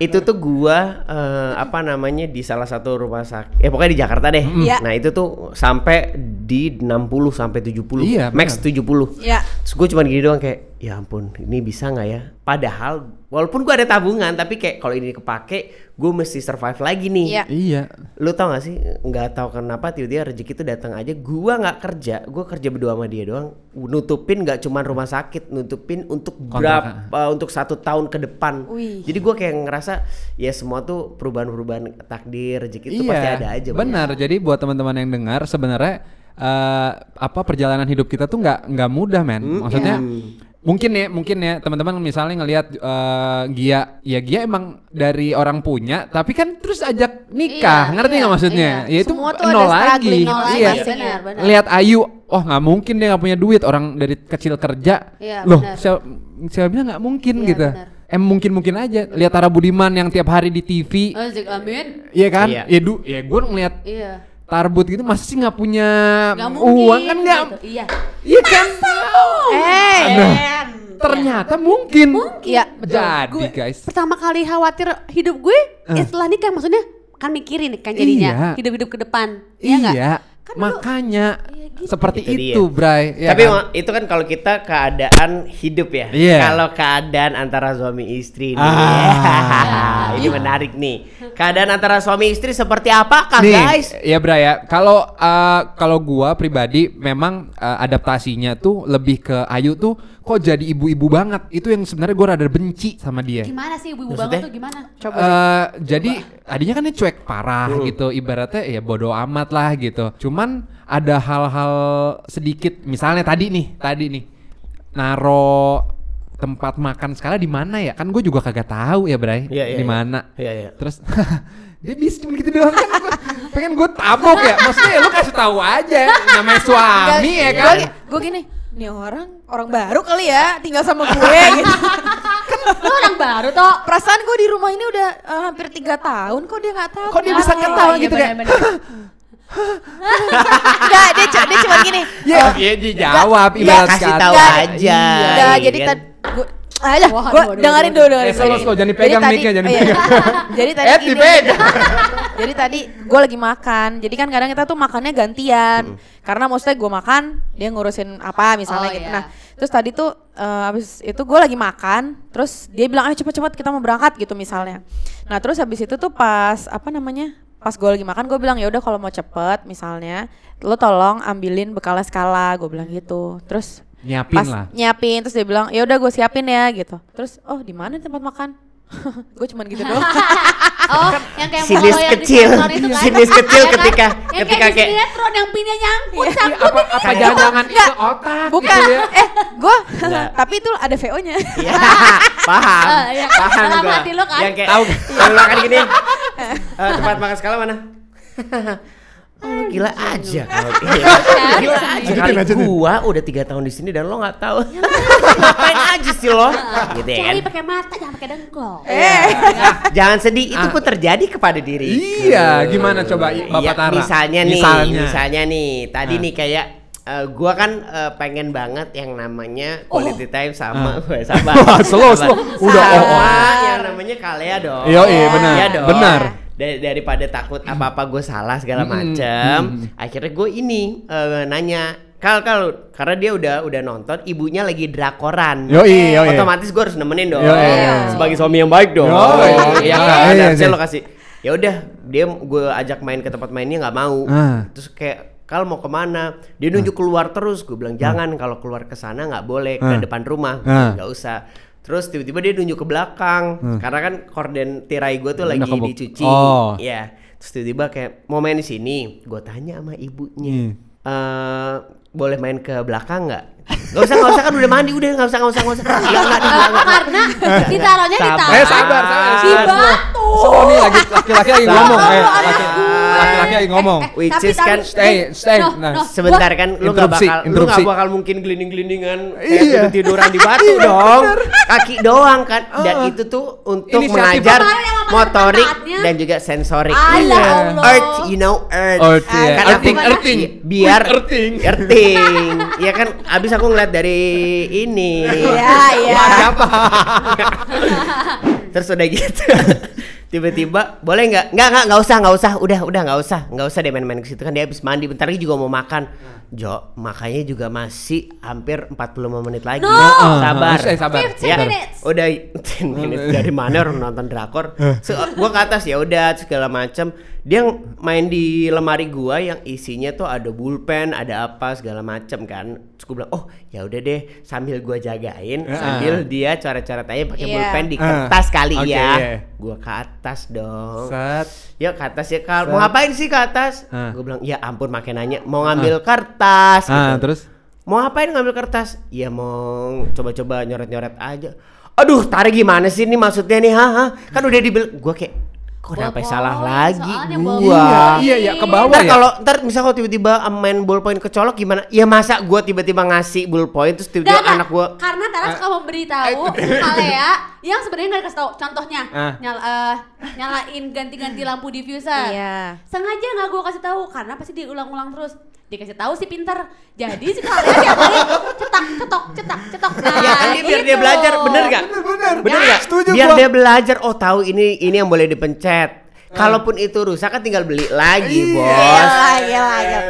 [SPEAKER 1] itu tuh gua eh, apa namanya di salah satu rumah sakit eh pokoknya di Jakarta deh.
[SPEAKER 4] Iya.
[SPEAKER 1] Nah, itu tuh sampai di 60 sampai 70.
[SPEAKER 2] Iya,
[SPEAKER 1] max 70.
[SPEAKER 4] Iya.
[SPEAKER 1] Terus gue cuman gini doang kayak ya ampun ini bisa nggak ya padahal walaupun gue ada tabungan tapi kayak kalau ini kepake gue mesti survive lagi nih
[SPEAKER 4] Iya.
[SPEAKER 2] Iya.
[SPEAKER 1] lu tau gak sih nggak tahu kenapa tiba-tiba rezeki itu datang aja gua nggak kerja gua kerja berdua sama dia doang nutupin nggak cuman rumah sakit nutupin untuk
[SPEAKER 2] Kontrakan.
[SPEAKER 1] berapa untuk satu tahun ke depan
[SPEAKER 4] Wih.
[SPEAKER 1] jadi gua kayak ngerasa ya semua tuh perubahan-perubahan takdir rezeki itu pasti ada aja Bang. ya.
[SPEAKER 2] Iya, Benar. Jadi buat teman-teman yang dengar sebenarnya eh, apa perjalanan hidup kita tuh nggak nggak mudah, men. Maksudnya mungkin ya, mungkin ya teman-teman misalnya ngelihat eh, Gia, ya Gia emang dari orang punya, tapi kan terus ajak nikah,
[SPEAKER 3] Iya,
[SPEAKER 2] ngerti nggak
[SPEAKER 3] iya,
[SPEAKER 2] maksudnya?
[SPEAKER 4] iya.
[SPEAKER 2] Ya itu
[SPEAKER 4] Semua tuh ada
[SPEAKER 2] nol lagi.
[SPEAKER 4] struggling,
[SPEAKER 3] nol lagi,
[SPEAKER 2] iya.
[SPEAKER 3] benar, benar.
[SPEAKER 2] Lihat Ayu, oh nggak mungkin dia nggak punya duit, orang dari kecil kerja.
[SPEAKER 3] Iya,
[SPEAKER 2] Loh,
[SPEAKER 3] benar.
[SPEAKER 2] siapa, siapa bilang nggak mungkin
[SPEAKER 3] Iya,
[SPEAKER 2] gitu.
[SPEAKER 3] benar.
[SPEAKER 2] Em mungkin mungkin aja. Lihat Tara Budiman yang tiap hari di TV,
[SPEAKER 3] Azik Amin.
[SPEAKER 2] Iya kan?
[SPEAKER 1] Iya.
[SPEAKER 2] Ya du, ya gue ngeliat
[SPEAKER 3] Iya.
[SPEAKER 2] tarbut gitu masih sih nggak punya
[SPEAKER 3] Gak mungkin.
[SPEAKER 2] uang kan nggak?
[SPEAKER 3] gitu. Iya.
[SPEAKER 2] Iya kan?
[SPEAKER 4] Eh,
[SPEAKER 2] Nah, ternyata mungkin.
[SPEAKER 3] Iya, betul.
[SPEAKER 2] Jadi
[SPEAKER 3] Gue
[SPEAKER 2] guys,
[SPEAKER 3] Pertama kali khawatir hidup gue setelah nikah maksudnya kan mikirin kan
[SPEAKER 2] Eh. Iya.
[SPEAKER 3] jadinya hidup-hidup ke depan. Iya nggak?
[SPEAKER 2] iya.
[SPEAKER 3] Kan dulu-
[SPEAKER 2] makanya
[SPEAKER 3] Iya, gitu.
[SPEAKER 2] seperti
[SPEAKER 1] Itu dia.
[SPEAKER 2] itu, Bray. ya
[SPEAKER 1] Tapi
[SPEAKER 2] kan?
[SPEAKER 1] ma- itu kan kalau kita keadaan hidup ya.
[SPEAKER 2] Iya.
[SPEAKER 1] Kalau keadaan antara suami istri nih.
[SPEAKER 2] Ah.
[SPEAKER 1] ini menarik nih. Keadaan antara suami istri seperti
[SPEAKER 3] Ah,
[SPEAKER 1] apakah,
[SPEAKER 2] Nih,
[SPEAKER 1] guys?
[SPEAKER 2] Ya Bray ya. Kalau eh, kalau gua pribadi memang eh, adaptasinya tuh lebih ke Ayu tuh kok jadi ibu-ibu banget. Itu yang sebenarnya gua rada benci sama dia.
[SPEAKER 3] Gimana sih ibu-ibu
[SPEAKER 1] Maksudnya?
[SPEAKER 3] banget tuh gimana?
[SPEAKER 4] Coba.
[SPEAKER 2] Eh, jadi tadinya kan dia cuek parah
[SPEAKER 1] Hmm.
[SPEAKER 2] gitu ibaratnya ya bodoh amat lah gitu cuman ada hal-hal sedikit misalnya tadi nih tadi nih naro tempat makan skala di mana ya? Kan gue juga kagak tahu ya, Bray.
[SPEAKER 1] Iya, iya,
[SPEAKER 2] di
[SPEAKER 1] iya.
[SPEAKER 2] mana?
[SPEAKER 1] Iya, iya.
[SPEAKER 2] Terus dia bisa cuma gitu doang kan gua- pengen gue tabok ya maksudnya ya lu kasih tahu aja namanya suami ya kan
[SPEAKER 4] Gue gini, nih orang orang baru kali ya tinggal sama gue gitu.
[SPEAKER 3] Lu orang baru toh.
[SPEAKER 4] Perasaan gue di rumah ini udah eh, hampir tiga tahun kok dia nggak tahu.
[SPEAKER 2] Kok dia bisa
[SPEAKER 4] kenapa? ya,
[SPEAKER 2] ketawa
[SPEAKER 3] iya,
[SPEAKER 2] gitu kayak,
[SPEAKER 3] bener-bener.
[SPEAKER 4] Nggak, dia, cu- dia cuma gini.
[SPEAKER 2] ya
[SPEAKER 1] Oh, iya,
[SPEAKER 2] dia dijawab ibarat
[SPEAKER 1] kasih
[SPEAKER 2] kata.
[SPEAKER 1] tahu
[SPEAKER 4] Nggak,
[SPEAKER 1] aja.
[SPEAKER 4] Udah, Iya, jadi
[SPEAKER 1] kan?
[SPEAKER 4] tadi gue Alah,
[SPEAKER 3] Wah,
[SPEAKER 4] gua
[SPEAKER 3] aduh, aduh,
[SPEAKER 4] dengerin
[SPEAKER 3] aduh,
[SPEAKER 4] dulu,
[SPEAKER 2] aduh.
[SPEAKER 4] dengerin
[SPEAKER 2] Eh, salah, salah, jangan dipegang
[SPEAKER 4] Jadi
[SPEAKER 2] mic-nya, jangan
[SPEAKER 4] iya.
[SPEAKER 2] dipegang.
[SPEAKER 4] Jadi tadi
[SPEAKER 2] Eh,
[SPEAKER 4] gini.
[SPEAKER 2] dipegang.
[SPEAKER 4] Jadi tadi gue lagi makan, jadi kan kadang kita tuh makannya gantian. Karena maksudnya gue makan, dia ngurusin apa misalnya
[SPEAKER 3] Oh,
[SPEAKER 4] gitu.
[SPEAKER 3] iya.
[SPEAKER 4] Nah, terus tadi tuh eh, abis itu gue lagi makan, terus dia bilang, ayo cepet-cepet kita mau berangkat gitu misalnya. Nah terus habis itu tuh pas, apa namanya, pas gue lagi makan gue bilang ya udah kalau mau cepet misalnya lo tolong ambilin bekalnya skala gue bilang gitu terus
[SPEAKER 2] Nyiapin
[SPEAKER 4] pas
[SPEAKER 2] lah.
[SPEAKER 4] nyiapin terus dia bilang ya udah gue siapin ya gitu terus oh di mana tempat makan gue cuman gitu doang
[SPEAKER 3] Oh, yang kayak
[SPEAKER 1] Sinis
[SPEAKER 3] foto yang di
[SPEAKER 1] kecil.
[SPEAKER 3] kantor itu kan.
[SPEAKER 1] Sinis kecil
[SPEAKER 3] Iya kan?
[SPEAKER 1] ketika-
[SPEAKER 3] yang
[SPEAKER 1] ketika
[SPEAKER 3] kayak
[SPEAKER 1] kayak-
[SPEAKER 3] di sinetron yang pinnya nyangkut
[SPEAKER 2] Iya, apa apa
[SPEAKER 1] Kayak-
[SPEAKER 2] jangan-jangan itu
[SPEAKER 4] Nggak.
[SPEAKER 2] otak
[SPEAKER 4] bukan
[SPEAKER 2] gitu ya.
[SPEAKER 4] eh gue
[SPEAKER 1] Enggak.
[SPEAKER 2] Iya.
[SPEAKER 4] tapi itu ada vo nya
[SPEAKER 1] Ya, paham.
[SPEAKER 3] Eh, iya kan?
[SPEAKER 1] Paham
[SPEAKER 3] Dalam
[SPEAKER 1] gua.
[SPEAKER 3] hati lu kan?
[SPEAKER 1] Yang kayak tahu yang lu makan gini. Eh, tempat makan skala mana? Oh, lu gila aja. Oh, iya. gila aja.
[SPEAKER 6] Lanjutin,
[SPEAKER 1] Kali
[SPEAKER 6] lanjutin.
[SPEAKER 1] gua udah tiga tahun di sini dan lo nggak tahu. Ngapain aja sih lo? Gitu ya kan?
[SPEAKER 3] Cari pakai mata jangan pakai dengkol.
[SPEAKER 2] Eh,
[SPEAKER 1] Jangan sedih, itu
[SPEAKER 2] Ah.
[SPEAKER 1] pun terjadi kepada diri.
[SPEAKER 2] Iya, gimana coba i- Bapak
[SPEAKER 1] Iya,
[SPEAKER 2] Tara?
[SPEAKER 1] Misalnya nih,
[SPEAKER 2] Misalnya.
[SPEAKER 1] misalnya, nih, tadi
[SPEAKER 2] Ah.
[SPEAKER 1] nih kayak eh, gua kan eh, pengen banget yang namanya quality time sama gue sabar.
[SPEAKER 2] Oh. Ah. Wah, slow,
[SPEAKER 1] Sabar.
[SPEAKER 2] slow. Udah,
[SPEAKER 1] Sama
[SPEAKER 2] oh, oh.
[SPEAKER 1] yang namanya kalea dong.
[SPEAKER 2] Iya, iya, benar.
[SPEAKER 1] Iya dong.
[SPEAKER 2] Benar.
[SPEAKER 1] Da- daripada takut apa-apa gue salah segala
[SPEAKER 2] Mm,
[SPEAKER 1] macem
[SPEAKER 2] mm.
[SPEAKER 1] akhirnya gue ini eh, nanya kal kal karena dia udah udah nonton ibunya lagi drakoran
[SPEAKER 6] Yoi, yoi.
[SPEAKER 1] otomatis gue harus nemenin dong
[SPEAKER 2] Yoi, yoi.
[SPEAKER 1] sebagai suami yang baik dong
[SPEAKER 2] Yoi.
[SPEAKER 1] Iya
[SPEAKER 2] Iya,
[SPEAKER 1] kan
[SPEAKER 2] iya,
[SPEAKER 1] harusnya
[SPEAKER 2] iya.
[SPEAKER 1] lo kasih ya udah dia gue ajak main ke tempat mainnya nggak mau
[SPEAKER 2] Ah.
[SPEAKER 1] terus kayak kal mau kemana dia nunjuk keluar terus gue bilang jangan kalau keluar ke sana nggak boleh ke
[SPEAKER 2] Ah.
[SPEAKER 1] depan rumah
[SPEAKER 2] Ah.
[SPEAKER 1] nggak usah terus tiba-tiba dia nunjuk ke belakang karena kan korden tirai gue tuh
[SPEAKER 2] Udah
[SPEAKER 1] lagi
[SPEAKER 2] kebuk-
[SPEAKER 1] dicuci
[SPEAKER 2] Oh.
[SPEAKER 1] ya terus tiba-tiba kayak mau main di sini gue tanya sama ibunya
[SPEAKER 2] Hmm.
[SPEAKER 1] "Eh, boleh main ke belakang nggak Gak usah, gak usah kan udah mandi, udah gak usah, gak usah, gak usah. Iya, nggak, nggak, nggak, nggak.
[SPEAKER 3] Karena ditaruhnya di
[SPEAKER 1] Sabar.
[SPEAKER 3] tangan.
[SPEAKER 2] Eh sabar, sabar.
[SPEAKER 1] Di
[SPEAKER 3] batu.
[SPEAKER 2] Semua nih lagi laki-laki lagi
[SPEAKER 1] Sabar.
[SPEAKER 2] ngomong. Eh,
[SPEAKER 1] Anak
[SPEAKER 2] laki-
[SPEAKER 1] gue.
[SPEAKER 2] laki-laki lagi ngomong.
[SPEAKER 1] Which
[SPEAKER 3] Eh, tapi-
[SPEAKER 1] is kan
[SPEAKER 3] tapi-
[SPEAKER 2] Stay, stay.
[SPEAKER 3] No,
[SPEAKER 2] Nah,
[SPEAKER 3] no.
[SPEAKER 1] sebentar kan lu gak
[SPEAKER 2] Interupsi,
[SPEAKER 1] bakal lu
[SPEAKER 2] interupsi. Iya.
[SPEAKER 1] gak bakal mungkin gelinding-gelindingan kayak tiduran di batu dong. Kaki doang kan dan itu tuh untuk
[SPEAKER 2] Ah, Inisiatif.
[SPEAKER 1] mengajar
[SPEAKER 3] Kemarin yang mama
[SPEAKER 1] motorik
[SPEAKER 3] tempatnya.
[SPEAKER 1] dan juga sensorik.
[SPEAKER 3] Alah
[SPEAKER 2] Iya.
[SPEAKER 3] Allah.
[SPEAKER 1] Earth, you know Earth.
[SPEAKER 2] Earth, iya.
[SPEAKER 1] Kan
[SPEAKER 2] Earthing,
[SPEAKER 1] aku-
[SPEAKER 2] earthing.
[SPEAKER 1] Biar
[SPEAKER 2] Wih, earthing.
[SPEAKER 1] Earthing. Iya kan abis aku ngeliat dari ini.
[SPEAKER 4] Iya, iya.
[SPEAKER 2] Siapa?
[SPEAKER 1] Terus udah gitu. Tiba-tiba boleh nggak? Nggak nggak nggak usah nggak usah. Udah udah nggak usah nggak usah dia main-main ke situ kan dia habis mandi. Bentar lagi juga mau makan. Jo makanya juga masih hampir 45 menit lagi.
[SPEAKER 3] No!
[SPEAKER 1] Sabar.
[SPEAKER 2] Eh, sabar.
[SPEAKER 3] 15
[SPEAKER 1] Ya,
[SPEAKER 3] minutes.
[SPEAKER 1] udah 10 minutes dari mana orang nonton drakor.
[SPEAKER 2] Eh.
[SPEAKER 1] So, gua ke atas ya udah segala macam. Dia ng- main di lemari gua yang isinya tuh ada bulpen, ada apa segala macam kan. Terus gua bilang, "Oh, ya udah deh, sambil gua jagain,
[SPEAKER 2] Eh,
[SPEAKER 1] sambil dia coret-coret aja pakai
[SPEAKER 4] Iya.
[SPEAKER 1] bulpen di
[SPEAKER 2] Ah.
[SPEAKER 1] kertas kali
[SPEAKER 2] Oke,
[SPEAKER 1] ya."
[SPEAKER 2] iya.
[SPEAKER 1] Gua ke atas dong.
[SPEAKER 2] Set.
[SPEAKER 1] Ya ke atas ya Kal. Mau
[SPEAKER 2] Set.
[SPEAKER 1] ngapain sih ke atas?
[SPEAKER 2] Ah.
[SPEAKER 1] Gua bilang, "Ya ampun, makin nanya. Mau ngambil kertas."
[SPEAKER 2] Eh. Ah,
[SPEAKER 1] gitu.
[SPEAKER 2] terus
[SPEAKER 1] Mau ngapain ngambil kertas? Ya mau coba-coba nyoret-nyoret aja. Aduh, tarik gimana sih ini maksudnya nih? Hah? hah? Kan udah dibil gua kayak kok udah sampai
[SPEAKER 3] Ballpoint,
[SPEAKER 1] salah lagi
[SPEAKER 3] soalnya
[SPEAKER 1] gua.
[SPEAKER 3] ballpoint.
[SPEAKER 2] Iya, iya, ke bawah
[SPEAKER 1] Ntar
[SPEAKER 2] ya.
[SPEAKER 1] kalau ntar misal kalau tiba-tiba main ballpoint kecolok gimana? Ya masa gua tiba-tiba ngasih ballpoint terus
[SPEAKER 3] Nggak,
[SPEAKER 1] tiba-tiba
[SPEAKER 3] nggak.
[SPEAKER 1] anak gua Eh,
[SPEAKER 3] Karena Tara suka memberitahu hal ya yang sebenarnya nggak dikasih tahu. Contohnya
[SPEAKER 2] Ah.
[SPEAKER 3] nyala- eh, nyalain ganti-ganti lampu diffuser.
[SPEAKER 4] Iya.
[SPEAKER 3] Sengaja nggak gue kasih tahu karena pasti diulang-ulang terus. Dikasih tahu sih pinter. Jadi si kalian tiap hari cetak, cetok, cetak, cetok. Nah,
[SPEAKER 1] Ya kan dia biar dia
[SPEAKER 3] gitu.
[SPEAKER 1] belajar, bener gak?
[SPEAKER 6] bener.
[SPEAKER 1] Bener
[SPEAKER 6] Ya,
[SPEAKER 1] nggak?
[SPEAKER 6] setuju
[SPEAKER 1] Biar
[SPEAKER 6] gua.
[SPEAKER 1] dia belajar, oh tahu ini ini yang boleh dipencet. Kalaupun itu rusak kan tinggal beli lagi, bos.
[SPEAKER 4] Iyalah, iyalah, iyalah.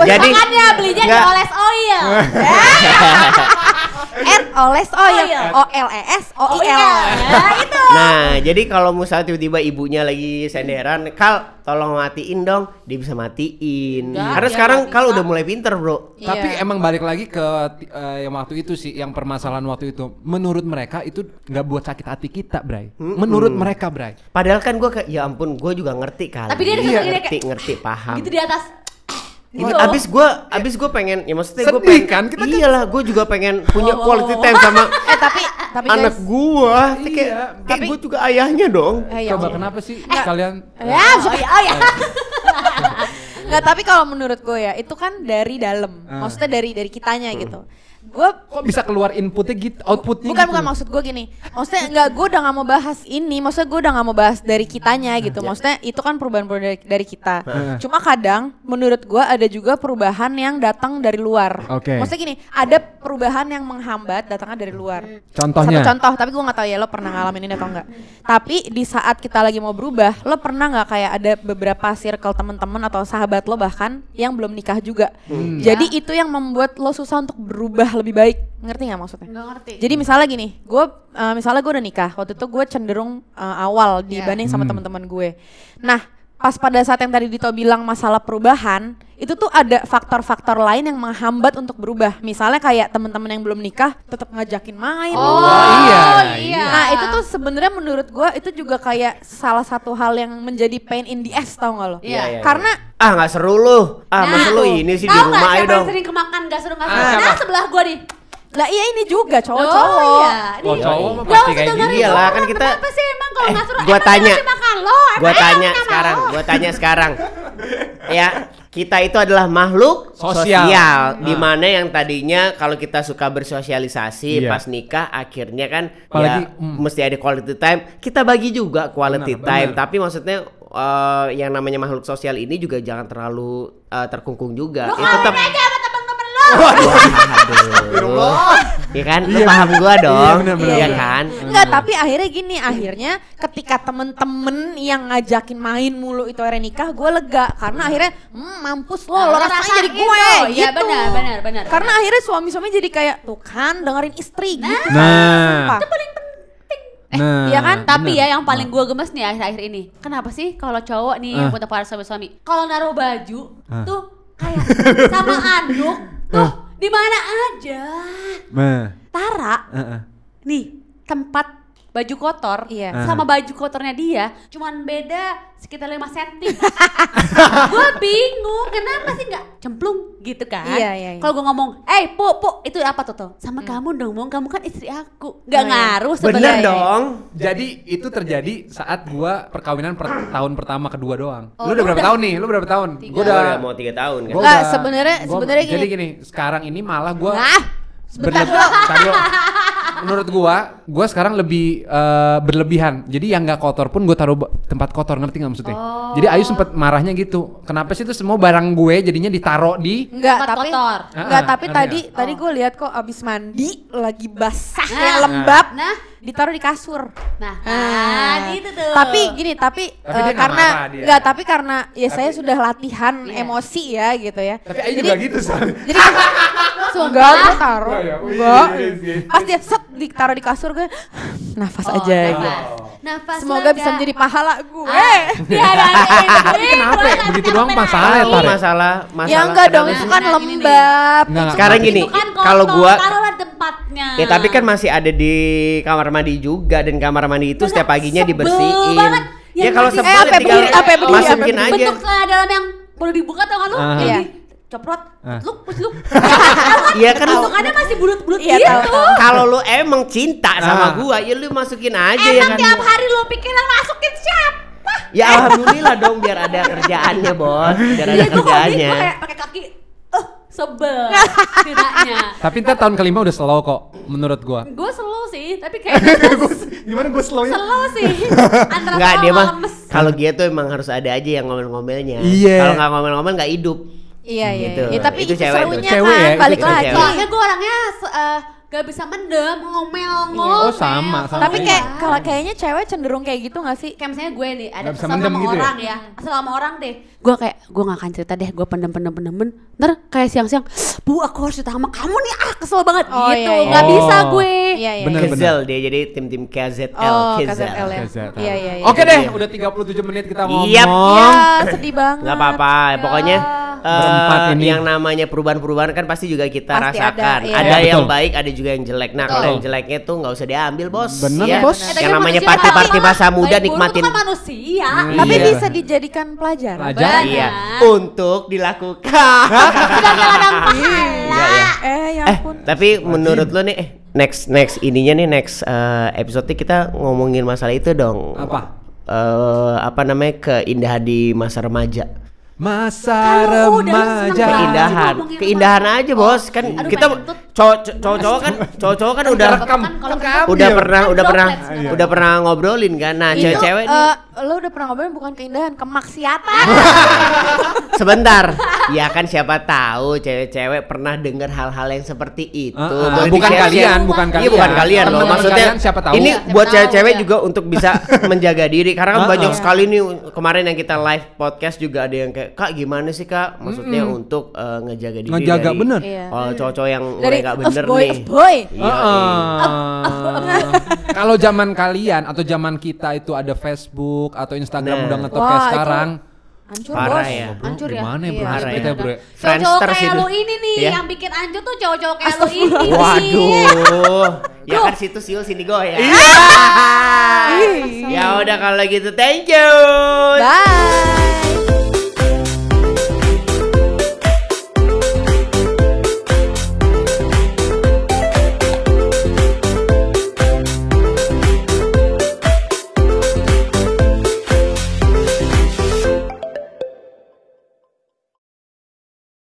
[SPEAKER 3] Wah,
[SPEAKER 1] Jadi-
[SPEAKER 3] makanya Ah, belinya di
[SPEAKER 1] Nggak.
[SPEAKER 3] oles oil.
[SPEAKER 4] R oles oil,
[SPEAKER 3] Oil.
[SPEAKER 4] O L E S O I
[SPEAKER 3] Oil.
[SPEAKER 4] L.
[SPEAKER 3] Ya itu.
[SPEAKER 1] Nah, jadi kalau misalnya tiba-tiba ibunya lagi senderan, Kal, tolong matiin dong. Dia bisa matiin.
[SPEAKER 3] Enggak,
[SPEAKER 1] Karena
[SPEAKER 3] dia
[SPEAKER 1] sekarang
[SPEAKER 3] nggak
[SPEAKER 1] Kal
[SPEAKER 3] bisa.
[SPEAKER 1] udah mulai pinter, bro.
[SPEAKER 2] Tapi emang balik lagi ke ti- eh, yang waktu itu sih, yang permasalahan waktu itu. Menurut mereka itu nggak buat sakit hati kita, Bray. Menurut mereka, Bray.
[SPEAKER 1] Padahal kan gue kayak, ya ampun, gue juga ngerti kali.
[SPEAKER 3] Tapi dia
[SPEAKER 1] ngerti,
[SPEAKER 3] disuruh gini
[SPEAKER 1] ngerti,
[SPEAKER 3] kayak-
[SPEAKER 1] paham.
[SPEAKER 3] Gitu di atas. Gitu.
[SPEAKER 1] Abis gue, abis gue pengen, ya maksudnya gue
[SPEAKER 2] Sedih
[SPEAKER 1] pengen,
[SPEAKER 2] kan? Kita kan-
[SPEAKER 1] iyalah, gue juga pengen punya
[SPEAKER 3] Wow, wow,
[SPEAKER 1] quality
[SPEAKER 3] wow.
[SPEAKER 1] time sama
[SPEAKER 4] Eh tapi tapi
[SPEAKER 1] anak
[SPEAKER 4] guys-
[SPEAKER 1] gua, kayak,
[SPEAKER 2] Iya,
[SPEAKER 1] kayak
[SPEAKER 4] tapi-
[SPEAKER 1] gua juga ayahnya dong.
[SPEAKER 4] Eh, ya
[SPEAKER 2] Coba
[SPEAKER 4] Allah.
[SPEAKER 2] kenapa sih kalian
[SPEAKER 4] Ya,
[SPEAKER 3] Oh iya, oh iya.
[SPEAKER 4] Nggak, Nah, tapi kalau menurut gue ya, itu kan dari dalam.
[SPEAKER 2] Ah.
[SPEAKER 4] Maksudnya dari dari kitanya gitu. Gue
[SPEAKER 2] kok bisa keluar inputnya gitu, outputnya
[SPEAKER 4] bukan
[SPEAKER 2] gitu?
[SPEAKER 4] bukan maksud gue gini. Maksudnya nggak gue udah nggak mau bahas ini, maksudnya gue udah nggak mau bahas dari kitanya gitu. Maksudnya itu kan perubahan-perubahan dari, dari kita.
[SPEAKER 2] Ah.
[SPEAKER 4] Cuma kadang menurut gue ada juga perubahan yang datang dari luar.
[SPEAKER 2] Oke.
[SPEAKER 4] Maksudnya gini, ada perubahan yang menghambat datangnya dari luar.
[SPEAKER 2] Contohnya?
[SPEAKER 4] Satu contoh, tapi gue nggak tahu ya lo pernah ngalamin ini atau enggak. Tapi di saat kita lagi mau berubah, lo pernah nggak kayak ada beberapa circle teman-teman atau sahabat lo bahkan yang belum nikah juga.
[SPEAKER 2] Hmm.
[SPEAKER 4] Jadi itu yang membuat lo susah untuk berubah lebih baik. Ngerti nggak maksudnya?
[SPEAKER 5] Nggak ngerti.
[SPEAKER 4] Jadi misalnya gini, gue eh, misalnya gue udah nikah, waktu itu gue cenderung eh, awal
[SPEAKER 3] Iya.
[SPEAKER 4] dibanding sama
[SPEAKER 2] Hmm.
[SPEAKER 4] teman-teman gue. Nah, pas pada saat yang tadi Dito bilang masalah perubahan, itu tuh ada faktor-faktor lain yang menghambat untuk berubah. Misalnya kayak teman-teman yang belum nikah tetap ngajakin main.
[SPEAKER 3] Oh,
[SPEAKER 1] Oh,
[SPEAKER 2] Wah, iya,
[SPEAKER 5] iya.
[SPEAKER 4] Nah, itu tuh sebenarnya menurut gue itu juga kayak salah satu hal yang menjadi pain in the ass tau gak lo?
[SPEAKER 3] Iya, iya,
[SPEAKER 4] Karena
[SPEAKER 1] Ah nggak seru lu. Ah masa lu
[SPEAKER 3] tuh.
[SPEAKER 1] ini sih di
[SPEAKER 3] Nah, Tahu nggak
[SPEAKER 1] rumah ayo
[SPEAKER 3] siapa yang
[SPEAKER 1] dong.
[SPEAKER 3] sering kemakan gak seru gak
[SPEAKER 2] Ah,
[SPEAKER 3] seru.
[SPEAKER 2] siapa?
[SPEAKER 3] Nah sebelah gua nih.
[SPEAKER 4] lah iya ini juga cowok-cowok.
[SPEAKER 3] Oh iya.
[SPEAKER 2] Wah, cowok mah
[SPEAKER 3] Gak
[SPEAKER 2] pasti
[SPEAKER 3] usah
[SPEAKER 2] kayak
[SPEAKER 3] dengerin
[SPEAKER 2] gini.
[SPEAKER 1] Iya lah,
[SPEAKER 3] orang,
[SPEAKER 1] kan kita-
[SPEAKER 3] Kenapa sih emang kalau
[SPEAKER 1] Eh,
[SPEAKER 3] gak seru?
[SPEAKER 1] gua
[SPEAKER 3] emang
[SPEAKER 1] tanya.
[SPEAKER 3] masih makan lo. emang
[SPEAKER 1] Gua
[SPEAKER 3] emang
[SPEAKER 1] tanya
[SPEAKER 3] sama
[SPEAKER 1] sekarang,
[SPEAKER 3] lo?
[SPEAKER 1] gua tanya sekarang. ya, kita itu adalah makhluk
[SPEAKER 2] Sosial. Ah.
[SPEAKER 1] sosial, di mana yang tadinya kalau kita suka bersosialisasi
[SPEAKER 2] Iya.
[SPEAKER 1] pas nikah akhirnya kan
[SPEAKER 2] Apalagi,
[SPEAKER 1] ya
[SPEAKER 2] mm.
[SPEAKER 1] mesti ada quality time. Kita bagi juga quality
[SPEAKER 2] Benar,
[SPEAKER 1] time,
[SPEAKER 2] benar.
[SPEAKER 1] tapi maksudnya eh, yang namanya makhluk sosial ini juga jangan terlalu eh, terkungkung juga.
[SPEAKER 3] Lu
[SPEAKER 1] Ya, tetap
[SPEAKER 3] kawin aja sama temen-temen lo.
[SPEAKER 1] Iya kan? Lu paham gua dong.
[SPEAKER 2] benar, benar,
[SPEAKER 1] Iya
[SPEAKER 2] benar.
[SPEAKER 1] kan?
[SPEAKER 4] Enggak, tapi akhirnya gini, akhirnya ketika temen-temen yang ngajakin main mulu itu akhirnya nikah, gue lega karena akhirnya hmm, mampus lo,
[SPEAKER 3] Nah,
[SPEAKER 4] lo
[SPEAKER 3] lo
[SPEAKER 4] rasanya
[SPEAKER 3] rasain
[SPEAKER 4] jadi gue
[SPEAKER 3] dong.
[SPEAKER 4] gitu.
[SPEAKER 3] Iya, benar, benar, benar.
[SPEAKER 4] Karena akhirnya suami-suami jadi kayak tuh kan dengerin istri gitu.
[SPEAKER 2] Nah.
[SPEAKER 4] Sumpah.
[SPEAKER 2] Nah,
[SPEAKER 3] Iya kan?
[SPEAKER 2] bener.
[SPEAKER 3] Tapi
[SPEAKER 2] Nah.
[SPEAKER 3] ya yang paling gua gemes nih akhir-akhir ini. Kenapa sih kalau cowok nih yang
[SPEAKER 2] Ah.
[SPEAKER 3] punya para suami-suami, kalau naruh baju
[SPEAKER 2] Ah.
[SPEAKER 3] tuh kayak sama anduk tuh
[SPEAKER 2] Ah.
[SPEAKER 3] di mana aja.
[SPEAKER 2] Nah,
[SPEAKER 3] Tara
[SPEAKER 2] heeh.
[SPEAKER 3] nih tempat baju kotor
[SPEAKER 1] Ah.
[SPEAKER 4] Iya.
[SPEAKER 3] sama baju kotornya dia cuman beda sekitar 5 cm gue bingung kenapa sih nggak cemplung gitu kan
[SPEAKER 4] Iya, iya, iya.
[SPEAKER 3] kalau gue ngomong eh pu pu itu apa tuh tuh sama kamu dong mong kamu kan istri aku nggak
[SPEAKER 4] Oh, iya.
[SPEAKER 3] ngaruh
[SPEAKER 1] Bener
[SPEAKER 3] sebenarnya
[SPEAKER 1] dong.
[SPEAKER 2] Jadi itu terjadi saat gua perkawinan per- tahun pertama kedua doang.
[SPEAKER 3] Oh,
[SPEAKER 2] lu udah
[SPEAKER 3] lu
[SPEAKER 2] berapa
[SPEAKER 3] udah-
[SPEAKER 2] tahun nih? Lu berapa tahun? Gua
[SPEAKER 3] Tiga.
[SPEAKER 1] Gua
[SPEAKER 2] udah
[SPEAKER 1] Ya udah mau tiga tahun kan.
[SPEAKER 2] gua
[SPEAKER 4] Nggak,
[SPEAKER 2] udah-
[SPEAKER 4] sebenarnya-
[SPEAKER 2] gua-
[SPEAKER 4] sebenarnya gini.
[SPEAKER 2] Jadi gini, sekarang ini malah gua
[SPEAKER 4] Nah,
[SPEAKER 2] Bentar dulu. Menurut gua, gua sekarang lebih eh, berlebihan. Jadi yang nggak kotor pun gua taruh ba- tempat kotor, ngerti nggak maksudnya? Jadi Ayu sempet marahnya gitu. Kenapa sih itu semua barang gue jadinya ditaruh di
[SPEAKER 4] enggak,
[SPEAKER 3] Tempat
[SPEAKER 4] tapi
[SPEAKER 3] kotor.
[SPEAKER 4] enggak,
[SPEAKER 2] Ah,
[SPEAKER 4] tapi
[SPEAKER 2] ngerti
[SPEAKER 4] tadi
[SPEAKER 2] nggak?
[SPEAKER 4] tadi gue lihat kok abis mandi lagi basah
[SPEAKER 3] Nah.
[SPEAKER 4] yang lembab.
[SPEAKER 3] Nah.
[SPEAKER 4] ditaruh di kasur.
[SPEAKER 3] nah,
[SPEAKER 4] Ah.
[SPEAKER 3] nah gitu tuh
[SPEAKER 4] Tapi gini, tapi,
[SPEAKER 2] Tapi
[SPEAKER 4] eh,
[SPEAKER 2] dia nggak
[SPEAKER 4] karena
[SPEAKER 2] marah dia.
[SPEAKER 4] nggak, tapi karena ya saya sudah latihan
[SPEAKER 3] Iya.
[SPEAKER 4] emosi ya gitu ya.
[SPEAKER 2] Tapi Ayu juga gitu soalnya.
[SPEAKER 4] Jadi enggak gue taruh.
[SPEAKER 2] Enggak ya? Wih,
[SPEAKER 4] Enggak.
[SPEAKER 2] yes, yes.
[SPEAKER 4] Pas dia set ditaruh di kasur gue nafas
[SPEAKER 3] Oh,
[SPEAKER 4] aja. gitu.
[SPEAKER 3] nafas. nafas
[SPEAKER 4] Semoga bisa menjadi pahala Eh. gue.
[SPEAKER 3] ah, biarin
[SPEAKER 2] Tapi kenapa ya? Begitu doang masalah ya,
[SPEAKER 1] Masalah,
[SPEAKER 2] Tar? ya?
[SPEAKER 1] masalah, masalah.
[SPEAKER 4] ya enggak dong,
[SPEAKER 1] kenapa
[SPEAKER 4] itu
[SPEAKER 1] sih?
[SPEAKER 4] kan
[SPEAKER 3] Nah, gini nih.
[SPEAKER 4] lembab.
[SPEAKER 2] Nggak, nggak,
[SPEAKER 1] Sekarang
[SPEAKER 2] nggak.
[SPEAKER 1] gini,
[SPEAKER 3] Itu kan kotor,
[SPEAKER 1] kalau gua-
[SPEAKER 3] taruhlah tempatnya
[SPEAKER 1] Ya tapi kan masih ada di kamar mandi juga dan kamar mandi itu
[SPEAKER 3] Enggak,
[SPEAKER 1] setiap paginya
[SPEAKER 3] sebel
[SPEAKER 1] dibersihin.
[SPEAKER 3] banget.
[SPEAKER 1] Ya,
[SPEAKER 3] Yang
[SPEAKER 1] kalau
[SPEAKER 3] masih-
[SPEAKER 1] sebel
[SPEAKER 4] Eh,
[SPEAKER 1] ya
[SPEAKER 4] apa
[SPEAKER 1] tinggal
[SPEAKER 4] berdiri, apa berdiri,
[SPEAKER 1] masukin
[SPEAKER 4] apa
[SPEAKER 1] aja.
[SPEAKER 3] bentuk celana dalam yang perlu dibuka tau gak lu
[SPEAKER 2] Ah.
[SPEAKER 3] kayak
[SPEAKER 4] Iya.
[SPEAKER 3] gini, coprot
[SPEAKER 2] Ah.
[SPEAKER 3] lu pus lu
[SPEAKER 1] Iya kan lu-
[SPEAKER 3] bentukannya masih bulat-bulat
[SPEAKER 4] Iya,
[SPEAKER 3] gitu
[SPEAKER 4] tahu,
[SPEAKER 1] kalau lu emang cinta
[SPEAKER 2] Ah.
[SPEAKER 1] sama gua, ya lu masukin aja ya
[SPEAKER 3] emang
[SPEAKER 1] kan.
[SPEAKER 3] tiap hari lu pikiran masukin siapa
[SPEAKER 1] Ya alhamdulillah dong biar ada kerjaannya, Bos. Biar ada
[SPEAKER 3] Iya, gua kalau gini,
[SPEAKER 1] kerjaannya.
[SPEAKER 3] gua kayak pakai kaki eh sebel tidaknya
[SPEAKER 2] Tapi ntar tahun kelima udah slow kok, menurut gua.
[SPEAKER 3] gue slow sih tapi kayaknya
[SPEAKER 2] Gimana gue slownya?
[SPEAKER 3] slow sih antara
[SPEAKER 1] Enggak,
[SPEAKER 3] slow
[SPEAKER 1] dia
[SPEAKER 3] sama
[SPEAKER 1] mah
[SPEAKER 3] lemes
[SPEAKER 1] kalau dia tuh emang harus ada aja yang ngomel-ngomelnya.
[SPEAKER 2] Iya.
[SPEAKER 1] Kalau nggak ngomel-ngomel nggak hidup.
[SPEAKER 4] Iya, iya.
[SPEAKER 1] Gitu.
[SPEAKER 4] iya. tapi
[SPEAKER 1] Itu
[SPEAKER 4] itu
[SPEAKER 1] cewek tuh.
[SPEAKER 4] serunya
[SPEAKER 2] Cewek ya,
[SPEAKER 4] kan
[SPEAKER 2] itu
[SPEAKER 4] balik
[SPEAKER 1] cewek.
[SPEAKER 4] lagi.
[SPEAKER 3] soalnya gue orangnya se- eh, gak bisa mendem
[SPEAKER 1] Iya.
[SPEAKER 3] ngomel ngomel
[SPEAKER 2] Oh, sama, sama.
[SPEAKER 4] Tapi kayak
[SPEAKER 3] Iya.
[SPEAKER 4] kalau kayaknya cewek cenderung kayak gitu gak sih?
[SPEAKER 3] kayak misalnya gue nih ada
[SPEAKER 2] Nggak bisa
[SPEAKER 3] kesel sama
[SPEAKER 2] mendem gitu ya?
[SPEAKER 3] orang ya
[SPEAKER 4] Hmm.
[SPEAKER 3] kesel sama orang deh gue kayak gue gak akan cerita deh gue pendem pendem pendem pendem. ntar kayak siang siang bu aku harus cerita sama kamu nih ah kesel banget
[SPEAKER 4] Oh,
[SPEAKER 3] gitu
[SPEAKER 4] iya, iya.
[SPEAKER 3] nggak bisa
[SPEAKER 2] Oh.
[SPEAKER 3] gue
[SPEAKER 4] Iya, iya.
[SPEAKER 2] Bener, bener.
[SPEAKER 1] Kezel dia jadi tim-tim KZL,
[SPEAKER 4] Oh,
[SPEAKER 1] Kezel.
[SPEAKER 4] KZL ya.
[SPEAKER 2] Kezel.
[SPEAKER 4] Iya, iya, iya.
[SPEAKER 2] Oke deh, udah 37 menit kita ngomong.
[SPEAKER 1] Yap.
[SPEAKER 3] Oh.
[SPEAKER 4] Ya, sedih banget.
[SPEAKER 1] nggak apa-apa
[SPEAKER 3] Iya.
[SPEAKER 1] pokoknya eh,
[SPEAKER 2] Berempat ini.
[SPEAKER 1] yang namanya perubahan-perubahan kan pasti juga kita
[SPEAKER 4] Pasti ada,
[SPEAKER 1] rasakan ada,
[SPEAKER 4] iya.
[SPEAKER 2] Iya,
[SPEAKER 1] yang
[SPEAKER 2] betul.
[SPEAKER 1] baik ada juga yang jelek nah kalau yang jeleknya tuh nggak usah diambil bos
[SPEAKER 2] Bener,
[SPEAKER 1] Ya,
[SPEAKER 2] bos.
[SPEAKER 3] Eh, tapi
[SPEAKER 1] yang namanya
[SPEAKER 3] manusia kan
[SPEAKER 1] party-party
[SPEAKER 3] malah
[SPEAKER 1] masa muda
[SPEAKER 3] baik buruk
[SPEAKER 1] nikmatin Hmm.
[SPEAKER 3] itu kan manusia kan.
[SPEAKER 4] Tapi
[SPEAKER 2] Iya.
[SPEAKER 4] bisa dijadikan pelajaran.
[SPEAKER 2] Pelajaran.
[SPEAKER 3] Benar.
[SPEAKER 1] iya untuk dilakukan
[SPEAKER 3] sebagai ladang pahala
[SPEAKER 1] Iya, iya.
[SPEAKER 4] Eh, ya
[SPEAKER 1] eh
[SPEAKER 4] ampun.
[SPEAKER 1] tapi menurut lo nih eh next next ininya nih next eh, episode nih kita ngomongin masalah itu dong.
[SPEAKER 2] Apa?
[SPEAKER 1] Eh, apa namanya keindahan di masa remaja.
[SPEAKER 2] Masa
[SPEAKER 5] Kalau udah, lu seneng
[SPEAKER 2] remaja.
[SPEAKER 5] banget.
[SPEAKER 1] Keindahan,
[SPEAKER 5] ngomongin
[SPEAKER 1] keindahan aja bos kan
[SPEAKER 3] aduh,
[SPEAKER 1] kita
[SPEAKER 3] pengen kentut.
[SPEAKER 1] cowok cowok cowok kan cowok cowok kan udah
[SPEAKER 2] rekam.
[SPEAKER 3] Kan kalau
[SPEAKER 1] udah pernah udah
[SPEAKER 3] droplet
[SPEAKER 1] pernah Iya.
[SPEAKER 3] sebenarnya.
[SPEAKER 1] udah pernah ngobrolin kan nah
[SPEAKER 4] Itu,
[SPEAKER 1] cewek-cewek nih
[SPEAKER 4] eh, lo udah pernah ngobrolin bukan keindahan, kemaksiatan.
[SPEAKER 1] sebentar ya kan siapa tahu cewek-cewek pernah dengar hal-hal yang seperti itu
[SPEAKER 2] Ah, ah.
[SPEAKER 1] Boleh
[SPEAKER 2] bukan
[SPEAKER 1] di-share-share.
[SPEAKER 2] kalian, bukan
[SPEAKER 1] iya
[SPEAKER 2] kalian.
[SPEAKER 1] bukan kalian loh
[SPEAKER 2] Teman-teman
[SPEAKER 1] maksudnya
[SPEAKER 2] kalian siapa tahu.
[SPEAKER 1] ini
[SPEAKER 2] Iya,
[SPEAKER 3] siapa
[SPEAKER 1] buat
[SPEAKER 3] tahu,
[SPEAKER 1] cewek-cewek
[SPEAKER 3] iya.
[SPEAKER 1] juga untuk bisa menjaga diri karena kan
[SPEAKER 2] Ah,
[SPEAKER 1] banyak
[SPEAKER 2] ah.
[SPEAKER 1] sekali nih kemarin yang kita live podcast juga ada yang kayak kak gimana sih kak maksudnya untuk eh, ngejaga diri
[SPEAKER 2] Ngejaga,
[SPEAKER 1] dari
[SPEAKER 2] bener. Ah,
[SPEAKER 4] Iya.
[SPEAKER 1] oh, cowok-cowok yang
[SPEAKER 4] Dari
[SPEAKER 1] nggak
[SPEAKER 4] of
[SPEAKER 1] bener
[SPEAKER 4] boy,
[SPEAKER 1] nih
[SPEAKER 4] of boy.
[SPEAKER 1] Iya,
[SPEAKER 2] Heeh. Kalau zaman kalian atau zaman kita itu ada Facebook atau Instagram
[SPEAKER 1] Nah.
[SPEAKER 2] udah ngetop
[SPEAKER 4] Wah,
[SPEAKER 2] kayak
[SPEAKER 4] itu Iya.
[SPEAKER 2] sekarang.
[SPEAKER 4] Hancur
[SPEAKER 1] Parah
[SPEAKER 4] bos.
[SPEAKER 1] ya.
[SPEAKER 2] Bro,
[SPEAKER 3] Hancur ya.
[SPEAKER 2] Gimana ya, bro?
[SPEAKER 3] Iya,
[SPEAKER 1] Parah
[SPEAKER 2] Kita,
[SPEAKER 1] ya.
[SPEAKER 2] bro.
[SPEAKER 3] Cowok-cowok
[SPEAKER 1] Friendster sih
[SPEAKER 3] kayak lu
[SPEAKER 1] dulu.
[SPEAKER 3] ini nih
[SPEAKER 1] Iya.
[SPEAKER 3] yang bikin anjur tuh cowok-cowok kayak lu ini
[SPEAKER 2] Iya
[SPEAKER 3] nih.
[SPEAKER 1] Waduh. ya kan situ siul sini Ya goyang. Iya.
[SPEAKER 4] Iya.
[SPEAKER 1] ya udah kalau gitu thank you.
[SPEAKER 4] Bye.